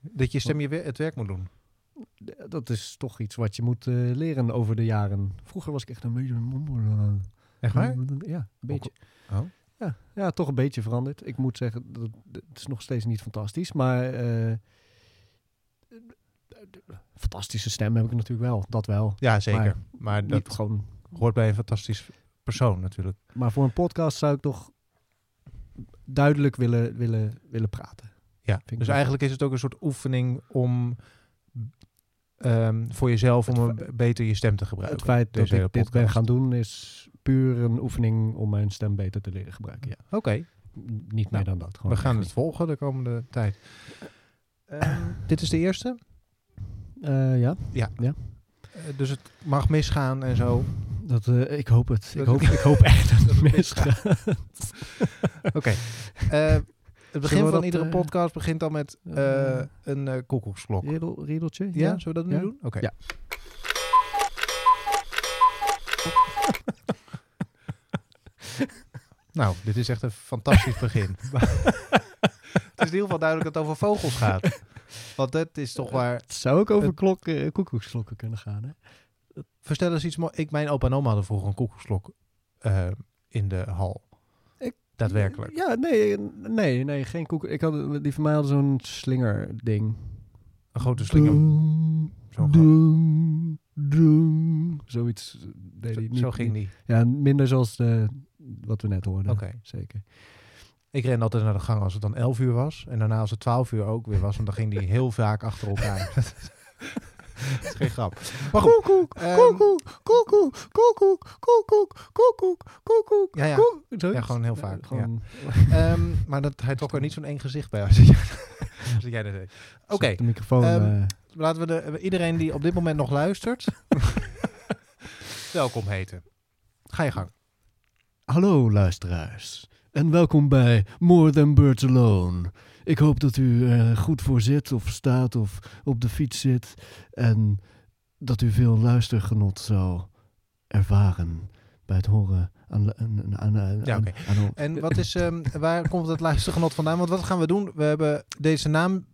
Dat je stem je wer- het werk moet doen. D- Dat is toch iets wat je moet eh, leren over de jaren. Vroeger was ik echt een beetje... Echt waar? Ja, een beetje. Oh. Ja, ja, toch een beetje veranderd. Ik moet zeggen, dat, dat- het is nog steeds niet fantastisch. Maar eh, fantastische stem heb ik natuurlijk wel. Dat wel. Ja, zeker. Maar Maar, Niet dat gewoon, hoort bij een fantastisch persoon natuurlijk. maar voor een podcast zou ik toch duidelijk willen, willen, willen praten. Ja. ik Dus wel. eigenlijk is het ook een soort oefening om ehm, voor jezelf Het om een be- beter je stem te gebruiken. Het feit dat Deze hele ik dit ben podcast. gaan doen is puur een oefening om mijn stem beter te leren gebruiken. Ja. Oké, N- Niet Nou, meer dan dat. Gewoon we gaan echt het volgen de komende tijd. Ehm, dit is de eerste. niet. Eh, ja, Eh, dus het mag misgaan en zo. dat, eh, ik hoop het. Ik Dat- hoop, ik hoop echt dat het misgaat. Oké. Eh, het begin we van dat, iedere eh, podcast begint al met eh, eh, een eh koekoeksklok. Ja, Riedel, riedeltje? zullen we dat ja. nu doen? Oké. Ja. nou, dit is echt een fantastisch begin. Maar het is in ieder geval duidelijk dat het over vogels gaat. Want dat is toch waar... Het zou ook over Het- klok, eh, koekoeksklokken kunnen gaan. Hè? Vertel eens iets moois. Ik, mijn opa en oma hadden vroeger een koekoeksklok eh, in de hal. Ik- Daadwerkelijk. Ja, nee, eh, nee, nee, geen koek. Ik had, die van mij hadden zo'n slingerding. Een grote slinger. Doem, Zo'n gat. doem, doem. Zoiets eh, deed hij Zo, niet. zo ging die. Ja, minder zoals de, wat we net hoorden. Oké. Zeker. Ik ren altijd naar de gang als het dan 11 uur was. En daarna als het 12 uur ook weer was. En dan ging die heel vaak achter elkaar. dat is geen grap. Maar goed. Koekoek, ehm, koekoek, koekoek, koekoek, koekoek, koekoek, koekoek, Ja, ja. koek. Zoiets. Ja, gewoon heel Ja, vaak, gewoon- Ehm, maar dat, hij trok er niet zo'n één gezicht bij als jij, als jij dat deed. Oké, De microfoon. Ehm, eh, laten we de, iedereen die op dit moment nog luistert... welkom heten. Ga je gang. Hallo luisteraars en welkom bij More Than Birds Alone. Ik hoop dat u er goed voor zit of staat of op de fiets zit en dat u veel luistergenot zal ervaren bij het horen aan... aan, aan, aan Ja, oké. aan- aan- En wat is, ehm, waar komt het luistergenot vandaan? Want wat gaan we doen? We hebben deze naam...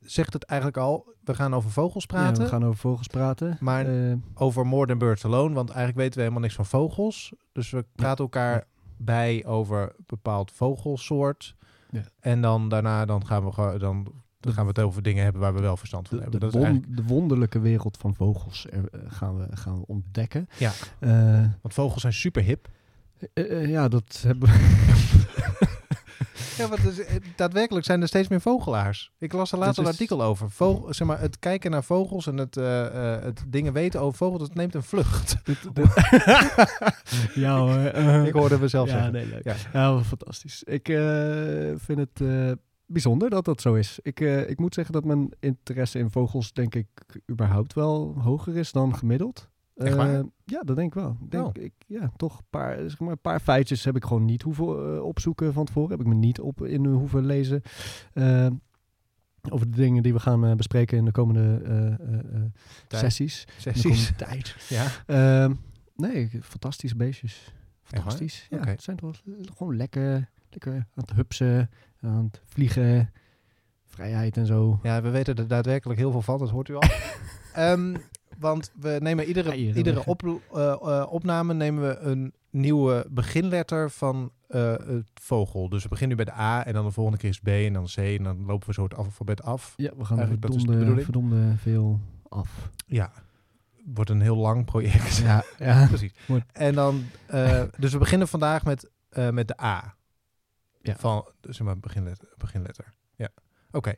Zegt het eigenlijk al, we gaan over vogels praten. Ja, we gaan over vogels praten. Maar Eh, over More Than Birds Alone. Want eigenlijk weten we helemaal niks van vogels. Dus we praten elkaar bij over een bepaald vogelsoort. Ja. En dan daarna dan gaan, we, gewoon- dan, dan gaan we het over dingen hebben waar we wel verstand van de, hebben. de, Dat is won- eigenlijk, de wonderlijke wereld van vogels er- eh, gaan, we, gaan we ontdekken. Ja. Eh, want vogels zijn super hip. eh, eh, ja, dat hebben we... Ja, want dus, eh, daadwerkelijk zijn er steeds meer vogelaars. Ik las er laatst Dat een is- artikel over. Vogel, zeg maar, het kijken naar vogels en het, eh, eh, het dingen weten over vogels, dat neemt een vlucht. dit- dit- ja hoor. eh. Ik hoorde mezelf ja, zeggen. Nee, leuk. Ja. Ja, wel fantastisch. Ik eh, vind het eh, bijzonder dat dat zo is. Ik, eh, ik moet zeggen dat mijn interesse in vogels, denk ik, überhaupt wel hoger is dan gemiddeld. Echt waar? Eh, ja, dat denk ik wel. Ik Denk, Oh. ik, ja, toch een paar, zeg maar, een paar feitjes heb ik gewoon niet hoeven eh, opzoeken van tevoren. Heb ik me niet op in hoeven lezen. eh, over de dingen die we gaan eh, bespreken in de komende eh, eh, eh, Tijd. sessies. In de Precies. komende tijd. Ja. Ehm, nee, fantastische beestjes. waar? Fantastisch. Ja, Oké. het zijn toch gewoon lekker, lekker aan het hupsen, aan het vliegen, vrijheid en zo. Ja, we weten er daadwerkelijk heel veel van, dat hoort u al. Ehm, want we nemen iedere, Eieren iedere leggen. op, eh, eh, opname nemen we een nieuwe beginletter van eh, het vogel. Dus we beginnen nu bij de A en dan de volgende keer is B en dan C en dan lopen we zo het alfabet af. Ja, we gaan Eigenlijk, dat is de verdomde, bedoeling. verdomde veel af. Ja, wordt een heel lang project. Ja, ja. Precies. Mooi. En dan, eh, dus we beginnen vandaag met, eh, met de A. Ja. Van, dus zeg maar, beginletter. beginletter. Ja, oké.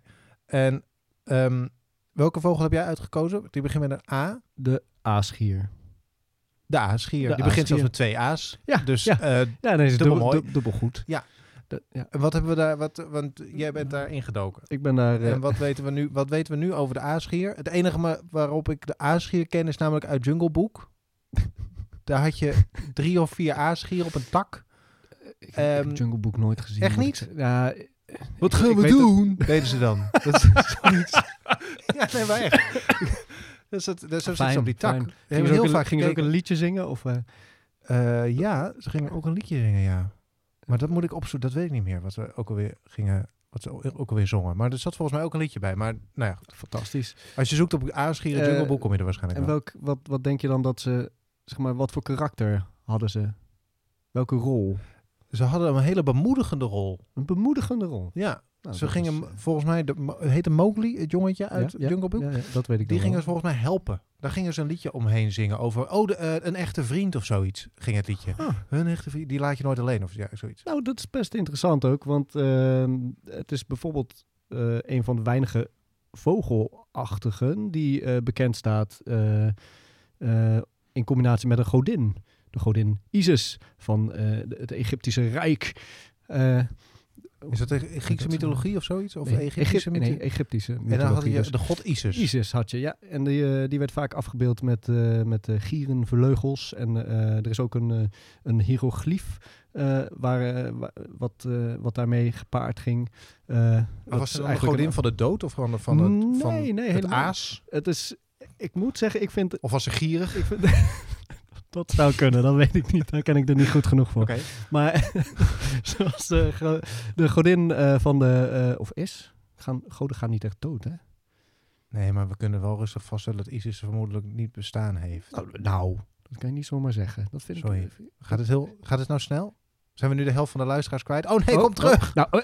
En ehm, welke vogel heb jij uitgekozen? Die begint met een A. De aasgier. De A's schier. De die begint aasgier. zelfs met twee A's. Ja, Dus ja. eh, Ja, nee, is Dubbel dubbel, mooi. dub- dubbel goed. Ja. De- ja. wat hebben we daar? Wat, want jij bent daar ingedoken. Ik ben daar... eh, En wat weten, we nu, wat weten we nu over de aasgier? Het enige ma- waarop ik de aasgier ken is namelijk uit Jungle Book. Daar had je drie of vier aasgier op een tak. ik heb ehm, Jungle Book nooit gezien. echt moet ik niet? zeggen. Ja, eh, Wat gaan we doen? Dat deden ze dan. dat is zoiets. Ja, nee, maar echt. Dat is dat, dat is zo zit ze op die tak. fijn. Hebben we Gingen ze ook heel een- vaak gingen ze ook gekeken. een liedje zingen? Of, eh, Eh, ja, ze gingen ook een liedje zingen, ja. Maar dat moet ik opzoeken, dat weet ik niet meer. Wat we ook alweer gingen, Wat ze ook alweer zongen. Maar er zat volgens mij ook een liedje bij. Maar nou ja, Fantastisch. als je zoekt op aanschieren Eh, Jungle Book, kom je er waarschijnlijk En wel. welk, wat, wat denk je dan dat ze, zeg maar, wat voor karakter hadden ze? Welke rol? Ze hadden een hele bemoedigende rol. Een bemoedigende rol. Ja, Nou, ze dat gingen is, m- volgens mij, de, mo- heette Mowgli, het jongetje eh, uit ja, ja, Jungle Book. ja, ja, dat weet Die ik nog wel. gingen ze volgens mij helpen. Daar gingen ze een liedje omheen zingen over, oh, de, eh, een echte vriend of zoiets, ging het liedje. Ah. Hun echte vriend, die laat je nooit alleen of ja, zoiets. Nou, dat is best interessant ook, want ehm, het is bijvoorbeeld eh, een van de weinige vogelachtigen die eh, bekend staat eh, eh, in combinatie met een godin. De godin Isis van eh, de- het Egyptische Rijk. Eh, Is dat een Griekse dat, eh, mythologie of zoiets? Of nee, Egyptische Egyp- nee, mythologie? Egyptische en dan had mythologie, je dus. de god Isis. Isis had je, ja. En die, eh, die werd vaak afgebeeld met, eh, met eh, gieren, verleugels. En eh, er is ook een, eh, een hieroglyf eh, waar, eh, wa- wat, eh, wat daarmee gepaard ging. Eh, Maar dat was is het een eigenlijk godin van de dood of van, de- van, het, Nee, van nee, het helemaal aas? Het is, ik moet zeggen, ik vind... Of was ze gierig? Ik vind dat zou kunnen, dat weet ik niet. Daar ken ik er niet goed genoeg voor. Oké. Maar zoals de, gro- de godin eh, van de... eh, of is? Gaan, goden gaan niet echt dood, hè? Nee, maar we kunnen wel rustig vaststellen dat Isis vermoedelijk niet bestaan heeft. Nou, nou, dat kan je niet zomaar zeggen. Dat vind Sorry. ik... Gaat het, heel, gaat het nou snel? Zijn we nu de helft van de luisteraars kwijt? Oh nee, Oh, kom terug! oh, nou,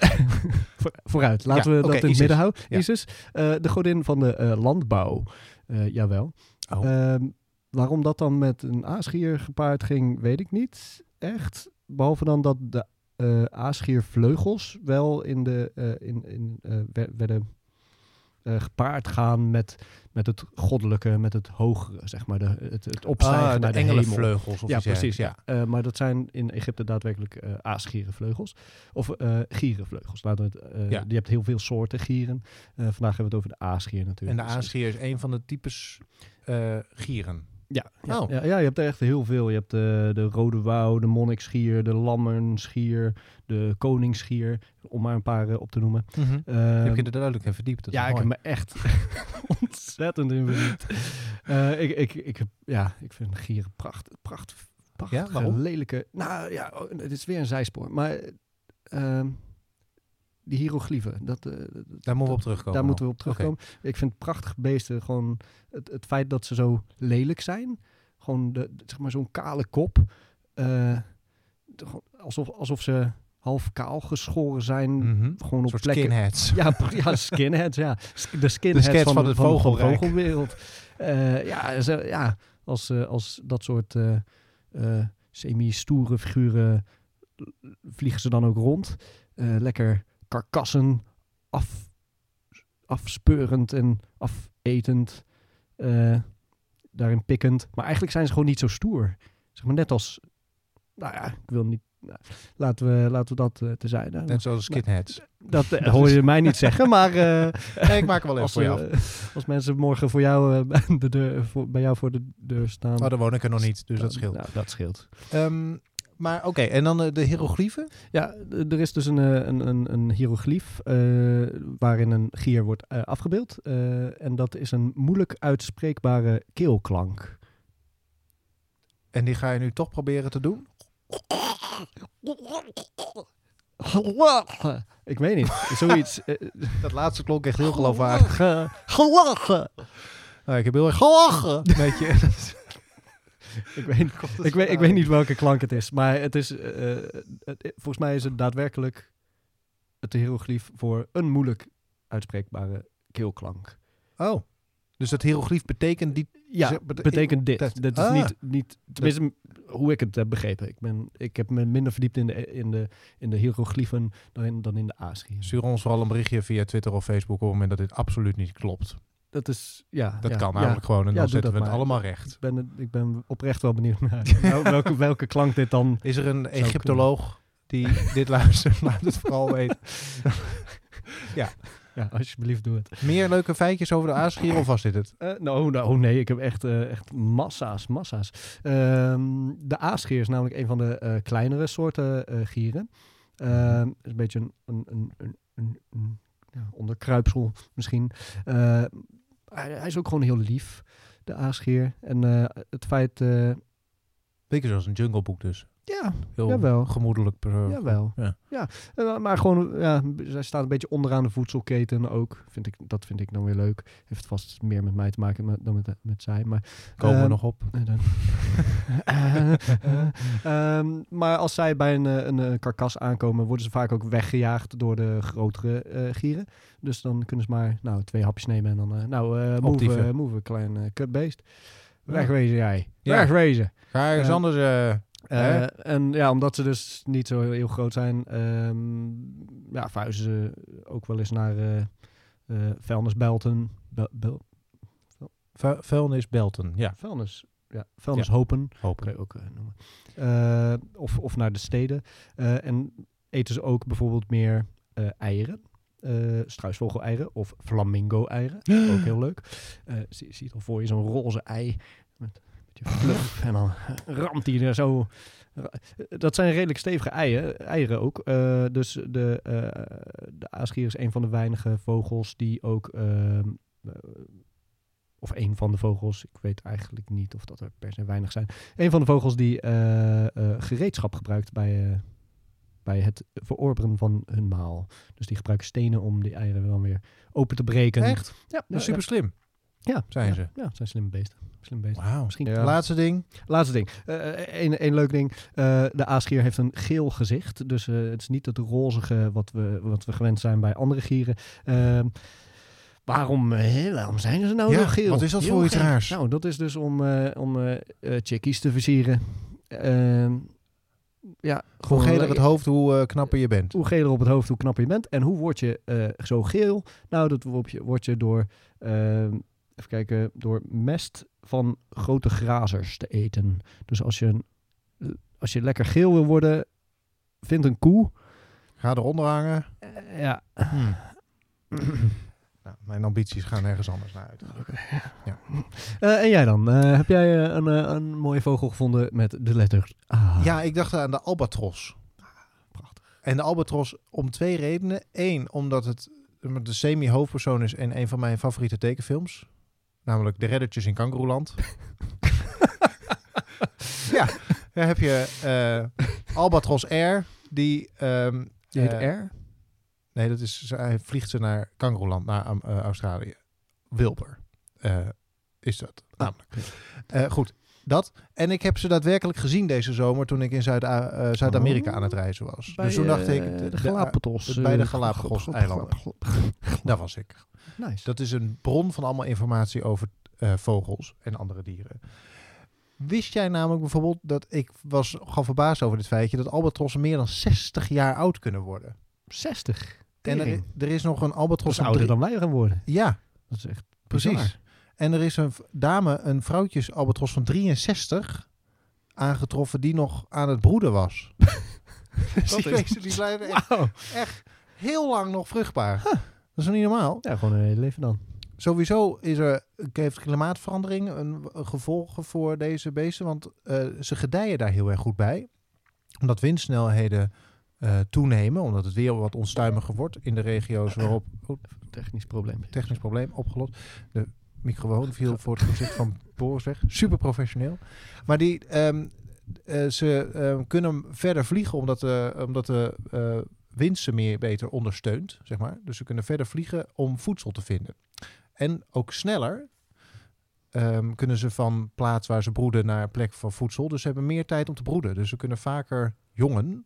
voor- vooruit. Laten Ja, we dat oké, in het Isis. midden houden. Ja. Isis, eh, de godin van de eh, landbouw. Eh, jawel. Oh. Ehm, waarom dat dan met een aasgier gepaard ging, weet ik niet echt. Behalve dan dat de eh aasgier vleugels wel in de, eh, in, in, eh, wer- werden eh, gepaard gaan met, met het goddelijke, met het hogere, zeg maar. De, het, het opstijgen Ah, de naar de hemel. engelenvleugels of Ja, iets precies. dergelijks, Ja. Eh, maar dat zijn in Egypte daadwerkelijk eh aasgierenvleugels. Of eh gierenvleugels. Laten we het, eh, Ja. Je hebt heel veel soorten gieren. Eh, vandaag hebben we het over de aasgier En natuurlijk. de aasgier is een van de types eh, gieren. Ja, ja, Oh. ja, ja, je hebt er echt heel veel. Je hebt de, de rode wouw, de monniksgier, de lammersgier, de koningsgier. Om maar een paar eh, op te noemen. Je Ehm, hebt je er duidelijk in verdiept. Dat is ja, ik heb mooi. me echt ontzettend in verdiept. Eh, ik, ik, ik, heb- ja, ik vind gieren pracht, pracht, prachtige, Ja, waarom? lelijke... Nou ja, oh, het is weer een zijspoor. Maar ehm, die hieroglyphen, dat, eh, dat- Daar moeten we op terugkomen. daar moeten nog. we op terugkomen. Ik vind prachtige beesten gewoon... Het, het feit dat ze zo lelijk zijn. Gewoon de, de- zeg maar zo'n kale kop. eh, de- gewoon alsof, alsof ze half kaal geschoren zijn. Mhm. Gewoon Een op soort plekken. skinheads. Ja, pr- ja skinheads, ja. Sk- De skinheads sketch van, van de- het van de vogelrijk. vogelwereld. Eh, ja, zo- ja als, eh, als dat soort eh, eh, semi-stoere figuren l- vliegen ze dan ook rond. Eh, lekker karkassen af, afspeurend en afetend. eh, daarin pikkend. Maar eigenlijk zijn ze gewoon niet zo stoer. Zeg maar net als... Nou ja, ik wil niet... nou, laten, we, laten we dat eh tezijde. houden. Net zoals de skinheads. Dat eh, hoor je mij niet zeggen, maar eh, Nee, ik maak er wel even als, voor je eh, af. als mensen morgen voor jou, eh, bij de deur, voor, bij jou voor de deur staan. Oh, daar woon ik er nog niet, dus dan- dat scheelt. nou, dat scheelt. Ehm, maar oké, en dan eh, de hieroglyphen? Ja, d- er is dus een, eh, een, een, een hieroglyf eh, waarin een gier wordt eh, afgebeeld. eh, en dat is een moeilijk uitspreekbare keelklank. En die ga je nu toch proberen te doen? Ik weet niet, zoiets. eh, Dat laatste klonk echt heel geloofwaardig. Gelachen. Nou, ik heb heel erg gelachen. Weet je? Dat is- Ik weet, ik, weet, ik weet niet welke klank het is, maar het is, eh, het- volgens mij is het daadwerkelijk het hieroglyf voor een moeilijk uitspreekbare keelklank. Oh, dus dat hieroglyf betekent die... Ja, Zeg, bete- betekent dit. dat- dit is ah. niet, niet, tenminste m- hoe ik het heb begrepen. Ik, ben, ik heb me minder verdiept in de, in de, in de hieroglyphen dan in, dan in de aasgier. Stuur ons vooral een berichtje via Twitter of Facebook op het moment dat dit absoluut niet klopt. Dat is, ja. Dat ja, kan ja. namelijk gewoon en Ja, dan doe zetten we dat het maar. allemaal recht. Ik ben, ik ben oprecht wel benieuwd naar wel- welke, welke klank dit dan... Is er een Egyptoloog die dit luistert? Laat het vooral weten. Ja, alsjeblieft doe het. Meer leuke feitjes over de aasgier of was dit het? Eh, nou, nou, oh nee, ik heb echt, eh, echt massa's, massa's. Ehm, de aasgeer is namelijk een van de eh, kleinere soorten eh, gieren. Ehm, is een beetje een, een, een, een, een- een, ja, onderkruipsel misschien. Eh, hij, hij is ook gewoon heel lief, de aasgeer. En eh, het feit... eh, Beetje zoals een jungleboek dus. Ja, Heel Jawel. gemoedelijk. Per, Jawel. Ja. Ja. En dan- eh, maar gewoon, ja, zij staat een beetje onderaan de voedselketen ook. Vind ik, dat vind ik dan weer leuk. Heeft vast meer met mij te maken met- dan met, eh, met zij. Maar, Komen we Ehm, nog op. nee, dan- Eh, eh, ehm, maar als zij bij een, eh, een, eh, karkas aankomen, worden ze vaak ook weggejaagd door de grotere eh, gieren. Dus dan kunnen ze maar nou, twee hapjes nemen en dan, eh, nou, eh move, Opdieven. eh, move, klein eh, kutbeest. Ja. Wegwezen jij. Ja. Wegwezen. Ga ergens eh, anders. eh, Eh, Hè? en ja, omdat ze dus niet zo heel, heel groot zijn, ehm, ja, verhuizen ze ook wel eens naar eh eh vuilnisbelten. Bel, bel- vu- vuilnis Belten. Ja, vuilnis. Ja, vuilnishopen. Kan hopelijk. je ook eh, noemen. Eh, of, of naar de steden. Eh, en eten ze ook bijvoorbeeld meer eh, eieren. Eh struisvogel-eieren of flamingo-eieren. Ook heel leuk. Eh, zie, zie het al voor je, zo'n roze ei. Met, met je fluff. en dan ramt hij er zo. ra- Dat zijn redelijk stevige eieren, eieren ook. Eh, dus de, eh de aasgier is een van de weinige vogels die ook... ehm, eh, of een van de vogels, ik weet eigenlijk niet of dat er per se weinig zijn. Een van de vogels die eh, eh, gereedschap gebruikt bij, eh, bij het verorberen van hun maal. Dus die gebruiken stenen om die eieren dan weer open te breken. Echt? Ja, Dat is super slim. Nou, ja, zijn ja, ze. Ja, zijn slimme beesten. Slimme beesten. Wauw. Misschien- Ja. Ja. Laatste ding. Laatste ding. Eh, Eén leuk ding. Eh, de aasgier heeft een geel gezicht. Dus eh, het is niet het rozige wat we, wat we gewend zijn bij andere gieren. Ehm, waarom, eh, waarom zijn ze nou Ja, zo geel? wat is dat Heel voor iets gek. raars? Nou, dat is dus om, eh, om eh, eh, chickies te versieren. Ehm, ja, Hoe gewoon e- geler le- het hoofd, hoe eh, knapper je bent. hoe geler op het hoofd, hoe knapper je bent. En hoe word je eh, zo geel? Nou, dat word je, word je door, ehm, even kijken, door mest van grote grazers te eten. Dus als je, een- als je lekker geel wil worden, vind een koe. Ga eronder hangen. Eh, ja, Hm. nou, mijn ambities gaan ergens anders naar uit. Eh, en jij dan? Eh, heb jij eh, een, eh, een mooie vogel gevonden met de letter A? Ja, ik dacht aan de albatros. Ah. prachtig. En de albatros om twee redenen. Eén, omdat het de semi-hoofdpersoon is in een van mijn favoriete tekenfilms. Namelijk De Reddertjes in Kangoeroeland. ja, daar heb je eh, Albatros R. Die, ehm, Die heet eh, R? Nee, dat is, hij vliegt ze naar Kangoeroeland, naar Am- eh, Australië. Wilbur eh, is dat Ah, namelijk. Eh, goed, dat. En ik heb ze daadwerkelijk gezien deze zomer toen ik in Zuid- eh, Zuid-Amerika aan het reizen was. dus toen dacht ik, Oh, eh, de eh, Galapagos. bij de eh, Galapagos-eilanden. daar was ik. Nice. Dat is een bron van allemaal informatie over eh, vogels en andere dieren. Wist jij namelijk bijvoorbeeld dat ik was gewoon verbaasd over dit feitje dat albatrossen meer dan 60 jaar oud kunnen worden? 60. En er, Tering. er is nog een Dat albatros is ouder op dan wij gaan worden. drie- Ja, Dat is echt Precies. bizar. En er is een v- dame, een vrouwtjes albatros van 63 aangetroffen die nog aan het broeden was. Dat die is- beesten die blijven echt, Wauw. echt heel lang nog vruchtbaar. Dat is nog niet normaal. Ja, gewoon een hele leven dan. Sowieso is er, heeft klimaatverandering een, een gevolgen voor deze beesten, want eh, ze gedijen daar heel erg goed bij. Omdat windsnelheden eh, toenemen, omdat het weer wat onstuimiger wordt in de regio's waarop... Oh, Technisch probleem. technisch probleem opgelost. De microfoon viel voor het gezicht van Boris weg. Super professioneel. Maar die, ehm, eh, ze ehm, kunnen verder vliegen omdat de, omdat de eh, wind ze meer beter ondersteunt. Zeg maar. Dus ze kunnen verder vliegen om voedsel te vinden. En ook sneller ehm, kunnen ze van plaats waar ze broeden naar een plek van voedsel. Dus ze hebben meer tijd om te broeden. Dus ze kunnen vaker jongen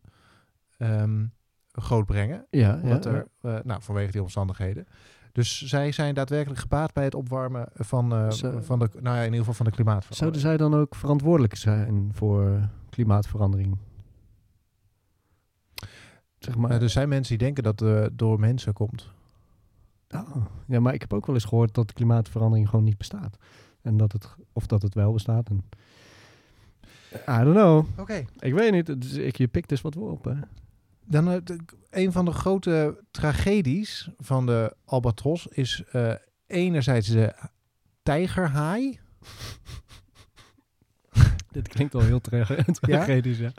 ehm grootbrengen Ja, ja, omdat ja. er, eh, nou, vanwege die omstandigheden. Dus zij zijn daadwerkelijk gebaat bij het opwarmen van, eh, Zo. van de, nou ja, in ieder geval van de klimaatverandering. Zouden zij dan ook verantwoordelijk zijn voor klimaatverandering? Zeg dus, maar. Eh, er zijn mensen die denken dat het door mensen komt. Oh. Ja, maar ik heb ook wel eens gehoord dat klimaatverandering gewoon niet bestaat. En dat het, of dat het wel bestaat. En... I don't know. Oké. Ik weet niet. Het is- ik, je pikt dus wat op, hè? Dan eh, de- een van de grote tragedies van de albatros is eh, enerzijds de tijgerhaai. Dit klinkt al heel tragisch. Ja? Tragisch, ja.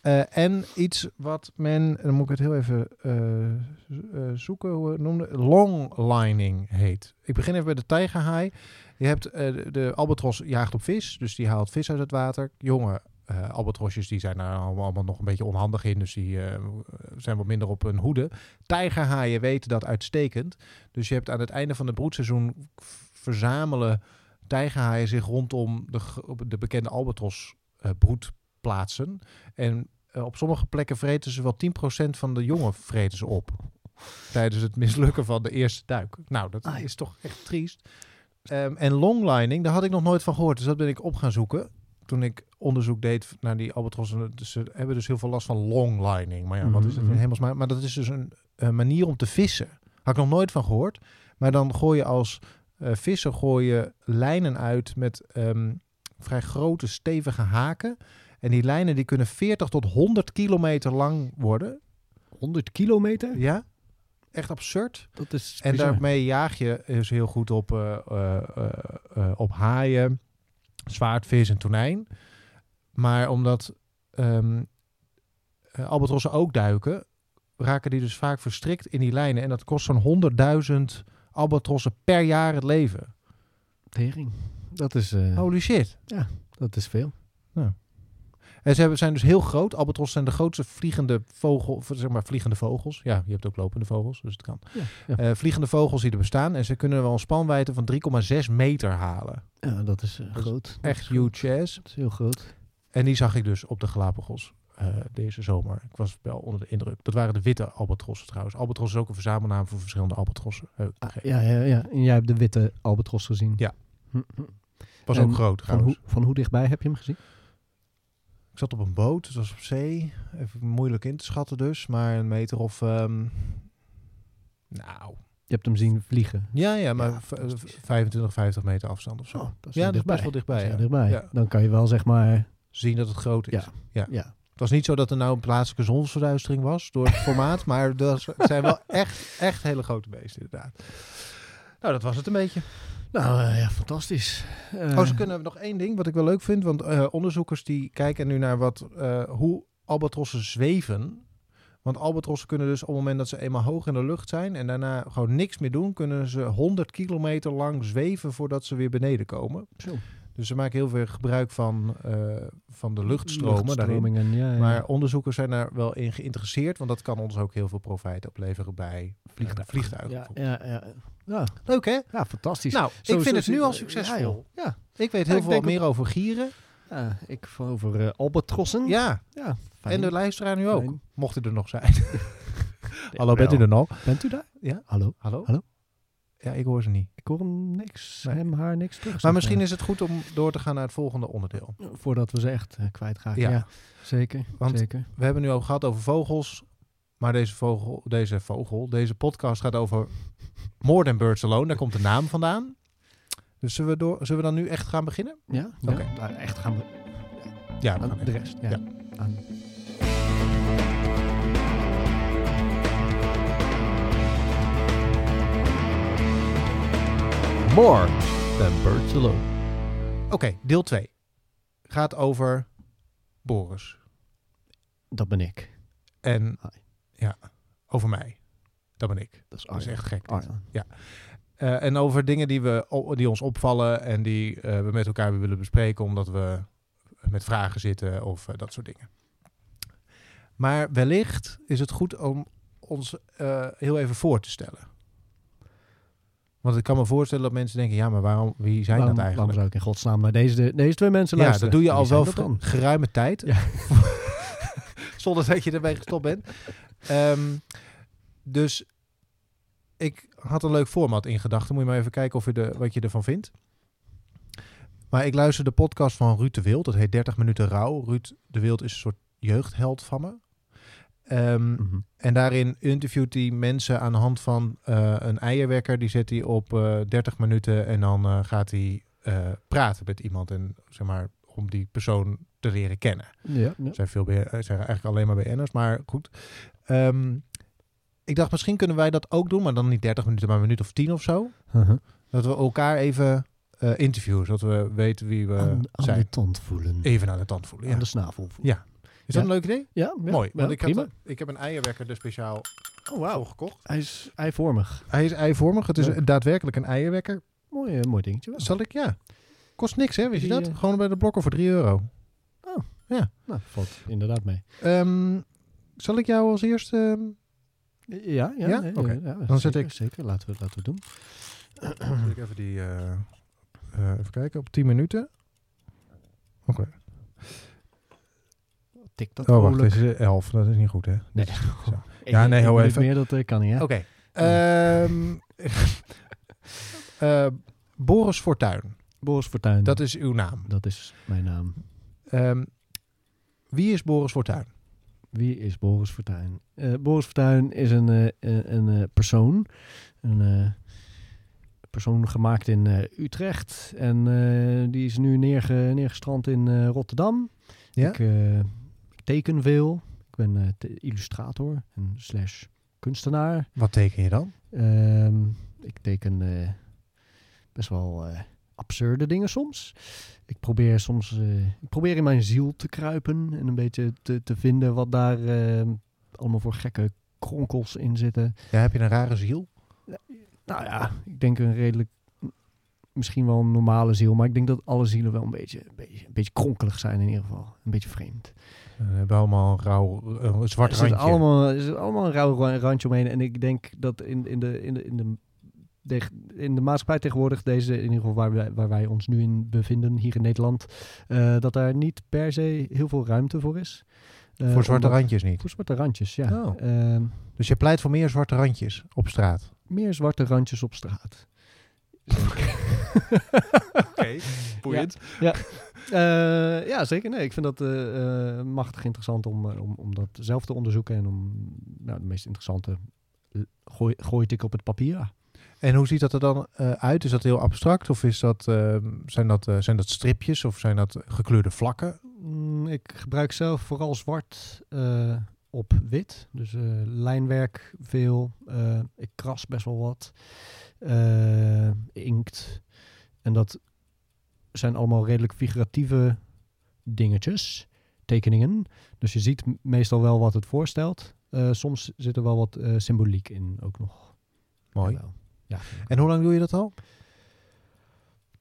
eh, en iets wat men, dan moet ik het heel even eh, z- eh, zoeken, hoe het noemde, longlining heet. Ik begin even bij de tijgerhaai. Je hebt eh, de, de albatros jaagt op vis, dus die haalt vis uit het water. Jongen eh, eh albatrosjes die zijn daar allemaal, allemaal nog een beetje onhandig in. Dus die eh, zijn wat minder op hun hoede. Tijgerhaaien weten dat uitstekend. Dus je hebt aan het einde van het broedseizoen verzamelen tijgerhaaien zich rondom de, gro- op de bekende albatros eh, broedplaatsen. En eh, op sommige plekken vreten ze wel 10% van de jongen vreten ze op. Tijdens het mislukken van de eerste duik. Nou, dat Ai. is toch echt triest. Ehm, en longlining, daar had ik nog nooit van gehoord. Dus dat ben ik op gaan zoeken. Toen ik onderzoek deed naar die albatrossen. Dus ze hebben dus heel veel last van longlining. Maar ja, wat is het in Mhm. hemelsnaam? Maar dat is dus een, eh, manier om te vissen. Had ik nog nooit van gehoord. Maar dan gooi je als eh vissen gooi je lijnen uit met ehm, vrij grote, stevige haken. En die lijnen die kunnen 40 tot 100 kilometer lang worden. 100 kilometer? Ja, echt absurd. Dat is En bizar. daarmee jaag je dus heel goed op, eh, eh, eh, eh, op haaien, zwaardvis en tonijn. Maar omdat ehm eh, albatrossen ook duiken, raken die dus vaak verstrikt in die lijnen. En dat kost zo'n 100.000 albatrossen per jaar het leven. Tering. Dat is, eh, Holy shit. dat is veel. En ze hebben- zijn dus heel groot. Albatrossen zijn de grootste vliegende vogel, of zeg maar vliegende vogels. Ja, je hebt ook lopende vogels, dus het kan. Ja, ja. Eh, vliegende vogels die er bestaan. En ze kunnen wel een spanwijdte van 3,6 meter halen. Ja, dat is eh, is groot. Echt huge ass. Dat is heel groot. En die zag ik dus op de Galapagos eh, deze zomer. Ik was wel onder de indruk. Dat waren de witte albatrossen trouwens. Albatros is ook een verzamelnaam voor verschillende albatrossen. Eh, Ah, gegeven. ja, ja, ja. En jij hebt de witte albatros gezien. Ja. Hm, hm. Was en ook groot Van, trouwens. hoe van hoe dichtbij heb je hem gezien? Ik zat op een boot, het was op zee. Even moeilijk in te schatten dus, maar een meter of... ehm, nou, Je hebt hem zien vliegen. ja, ja, maar Ja, v- fantastisch. 25, 50 meter afstand of zo. dat is Oh, ja, heel dat is Oh, dichtbij. best Dat wel dichtbij. is heel ja. dichtbij. Dan kan je wel zeg maar... Zien dat het groot is. Ja, Het was niet zo dat er nou een plaatselijke zonsverduistering was door het formaat, maar dat is- het zijn wel echt, echt hele grote beesten inderdaad. Nou, dat was het een beetje. nou eh, ja, fantastisch. Eh, Oh, ze kunnen nog één ding wat ik wel leuk vind. Want eh, onderzoekers die kijken nu naar wat, eh, hoe albatrossen zweven. Want albatrossen kunnen dus op het moment dat ze eenmaal hoog in de lucht zijn en daarna gewoon niks meer doen, kunnen ze 100 kilometer lang zweven voordat ze weer beneden komen. Zo. Dus ze maken heel veel gebruik van, eh, van de luchtstromen daarin. Luchtstromingen, ja, ja. Maar onderzoekers zijn daar wel in geïnteresseerd, want dat kan ons ook heel veel profijt opleveren bij vliegtuigen. vliegtuigen. Ja, bijvoorbeeld. ja, ja. Ja, Leuk hè? ja fantastisch. Nou, Zo- ik vind zo het zie- nu al eh, succesvol. ja, joh. Ja, Ik weet Ja, heel ik veel denk meer over gieren. ja, ik van over eh, albatrossen. Ja, ja En de luisteraar nu ook. Fijn. Mocht hij er nog zijn. Hallo, bent u er? er nog? Bent u daar? Ja. Hallo? Hallo? Hallo? Ja, ik hoor ze niet. Ik hoor hem niks, Nee. hem, haar, niks terug. Maar misschien is het goed om door te gaan naar het volgende onderdeel. Voordat we ze echt eh, kwijtraken. Ja. Ja. zeker. Want- zeker. We hebben nu al gehad over vogels. Maar deze vogel, deze vogel, deze podcast gaat over More Than Birds Alone. Daar komt de naam vandaan. Dus zullen we, door, zullen we dan nu echt gaan beginnen? Ja? ja. Oké. Nou, echt gaan we Ja, we gaan aan de echt. rest. Ja. Ja. Aan. More Than Birds Alone. Oké, deel 2. Gaat over Boris. Dat ben ik. En Hi. ja, over mij. Dat ben ik. Dat is Dat is Arjan. echt gek. Arjan. Eh, en over dingen die, we, o- die ons opvallen en die eh, we met elkaar willen bespreken omdat we met vragen zitten of eh, dat soort dingen. Maar wellicht is het goed om ons eh, heel even voor te stellen. Want ik kan me voorstellen dat mensen denken, ja, maar waarom, wie zijn waarom, waarom dat eigenlijk? zou ik in godsnaam naar deze, deze twee mensen Ja, dat luisteren? doe je al Wie zijn wel dat voor dan? geruime tijd. Ja. Zonder dat je ermee gestopt bent. Ehm, dus ik had een leuk format in gedachten. Moet je maar even kijken of je de, wat je ervan vindt. Maar ik luister de podcast van Ruud de Wild. Dat heet 30 minuten rouw. Ruud de Wild is een soort jeugdheld van me. Ehm, Mhm. en daarin interviewt hij mensen aan de hand van eh, een eierwekker. Die zet hij op eh 30 minuten en dan eh, gaat hij eh, praten met iemand. En zeg maar, om die persoon te leren kennen. Ja. Mhm. ja. Er zijn, veel BN er zijn eigenlijk alleen maar BN'ers, maar goed. Ehm, ik dacht, misschien kunnen wij dat ook doen, maar dan niet 30 minuten, maar een minuut of 10 of zo. Mhm. Dat we elkaar even eh, interviewen, zodat we weten wie we aan, aan zijn. de tand voelen. Even aan de tand voelen. Eh, Ja. Aan de Is snavel voelen. dat ja. een leuk idee? Ja, ja, Mooi. ja, Want ik, had, prima. eh, ik heb een eierwekker er speciaal Oh, voor wauw. gekocht. Hij is eivormig. Hij is eivormig. Het is Leuk. daadwerkelijk een eierwekker. Mooi, eh, mooi dingetje wel. Zal ik, ja. Kost niks, hè? Wist je Die, dat? eh, Gewoon bij de blokken voor 3 euro. Oh. Nou, Valt inderdaad mee. Ehm, zal ik jou als eerste... ehm, Ja, ja. Ja? nee, Oké. ja, ja, zet zeker, ik- Zeker, laten we, laten we het doen. Wil ik even die. eh, eh, even kijken, op 10 minuten. Oké. Tik dat Oh, wacht, vrolijk. dit is 11. Dat is niet goed, hè? Nee. Dit is- zo. Ja, nee, heel Ik even. meer, dat eh, kan niet, hè? Oké. Ehm, eh, Boris Fortuyn, Boris Fortuyn. dat is uw naam. dat is mijn naam. Ehm, wie is Boris Fortuyn? Wie is Boris Fortuyn? Eh, Boris Fortuyn is een, eh, eh, een eh, persoon. Een eh, persoon gemaakt in eh, Utrecht. En eh, die is nu neerge, neergestrand in eh, Rotterdam. Ja? Ik, eh, ik teken veel. Ik ben eh, te- illustrator en slash kunstenaar. Wat teken je dan? Ehm, ik teken eh, best wel eh, absurde dingen soms. Ik probeer soms eh, ik probeer in mijn ziel te kruipen en een beetje te, te vinden wat daar eh, allemaal voor gekke kronkels in zitten. Ja, heb je een rare ziel? Nou ja, ik denk een redelijk, misschien wel een normale ziel, maar ik denk dat alle zielen wel een beetje, een beetje, een beetje kronkelig zijn in ieder geval. Een beetje vreemd. Eh, We hebben allemaal een rauw, een zwart Er zit randje. allemaal, er zit allemaal een rauw ra- randje omheen. En ik denk dat in, in, de, in, de, in, de, deg- in de maatschappij tegenwoordig, deze, in ieder geval waar wij, waar wij ons nu in bevinden, hier in Nederland, eh, dat daar niet per se heel veel ruimte voor is. Eh, Voor zwarte omdat- randjes niet. Voor zwarte randjes, ja. Oh. Ehm, Dus je pleit voor meer zwarte randjes op straat. meer zwarte randjes op straat. Oké, boeiend. Eh, ja, zeker. Nee, ik vind dat eh, eh, machtig interessant om, eh, om, om dat zelf te onderzoeken. En om nou, de meest interessante eh, gooi, gooi ik op het papier. En hoe ziet dat er dan eh, uit? Is dat heel abstract of is dat, eh, zijn, dat, eh, zijn dat stripjes of zijn dat gekleurde vlakken? Mm, ik gebruik zelf vooral zwart eh, op wit. Dus eh, lijnwerk veel. Eh, ik kras best wel wat. Eh, inkt. En dat zijn allemaal redelijk figuratieve dingetjes. Tekeningen. Dus je ziet m- meestal wel wat het voorstelt. Eh, soms zit er wel wat eh, symboliek in ook nog. Mooi. Jawel. Ja. En hoe lang doe je dat al?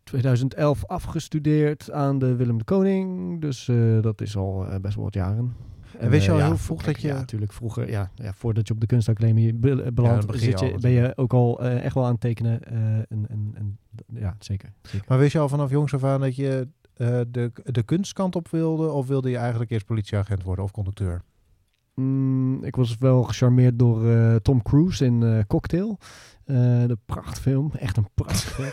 2011 afgestudeerd aan de Willem de Koning. Dus eh, dat is al eh, best wel wat jaren. En wist je eh, al ja, heel vroeg kijk, dat je- Ja, natuurlijk. Vroeger, ja, ja, voordat je op de kunstacademie be- eh, belandt, dan begin je zit je, al ben je ook al eh, echt wel aan het tekenen. eh, en, en, en, ja, zeker. zeker. Maar wist je al vanaf jongs af aan dat je eh, de, de kunstkant op wilde? Of wilde je eigenlijk eerst politieagent worden of conducteur? Mm, ik was wel gecharmeerd door eh, Tom Cruise in eh, Cocktail. Eh, de prachtfilm. Echt een prachtfilm.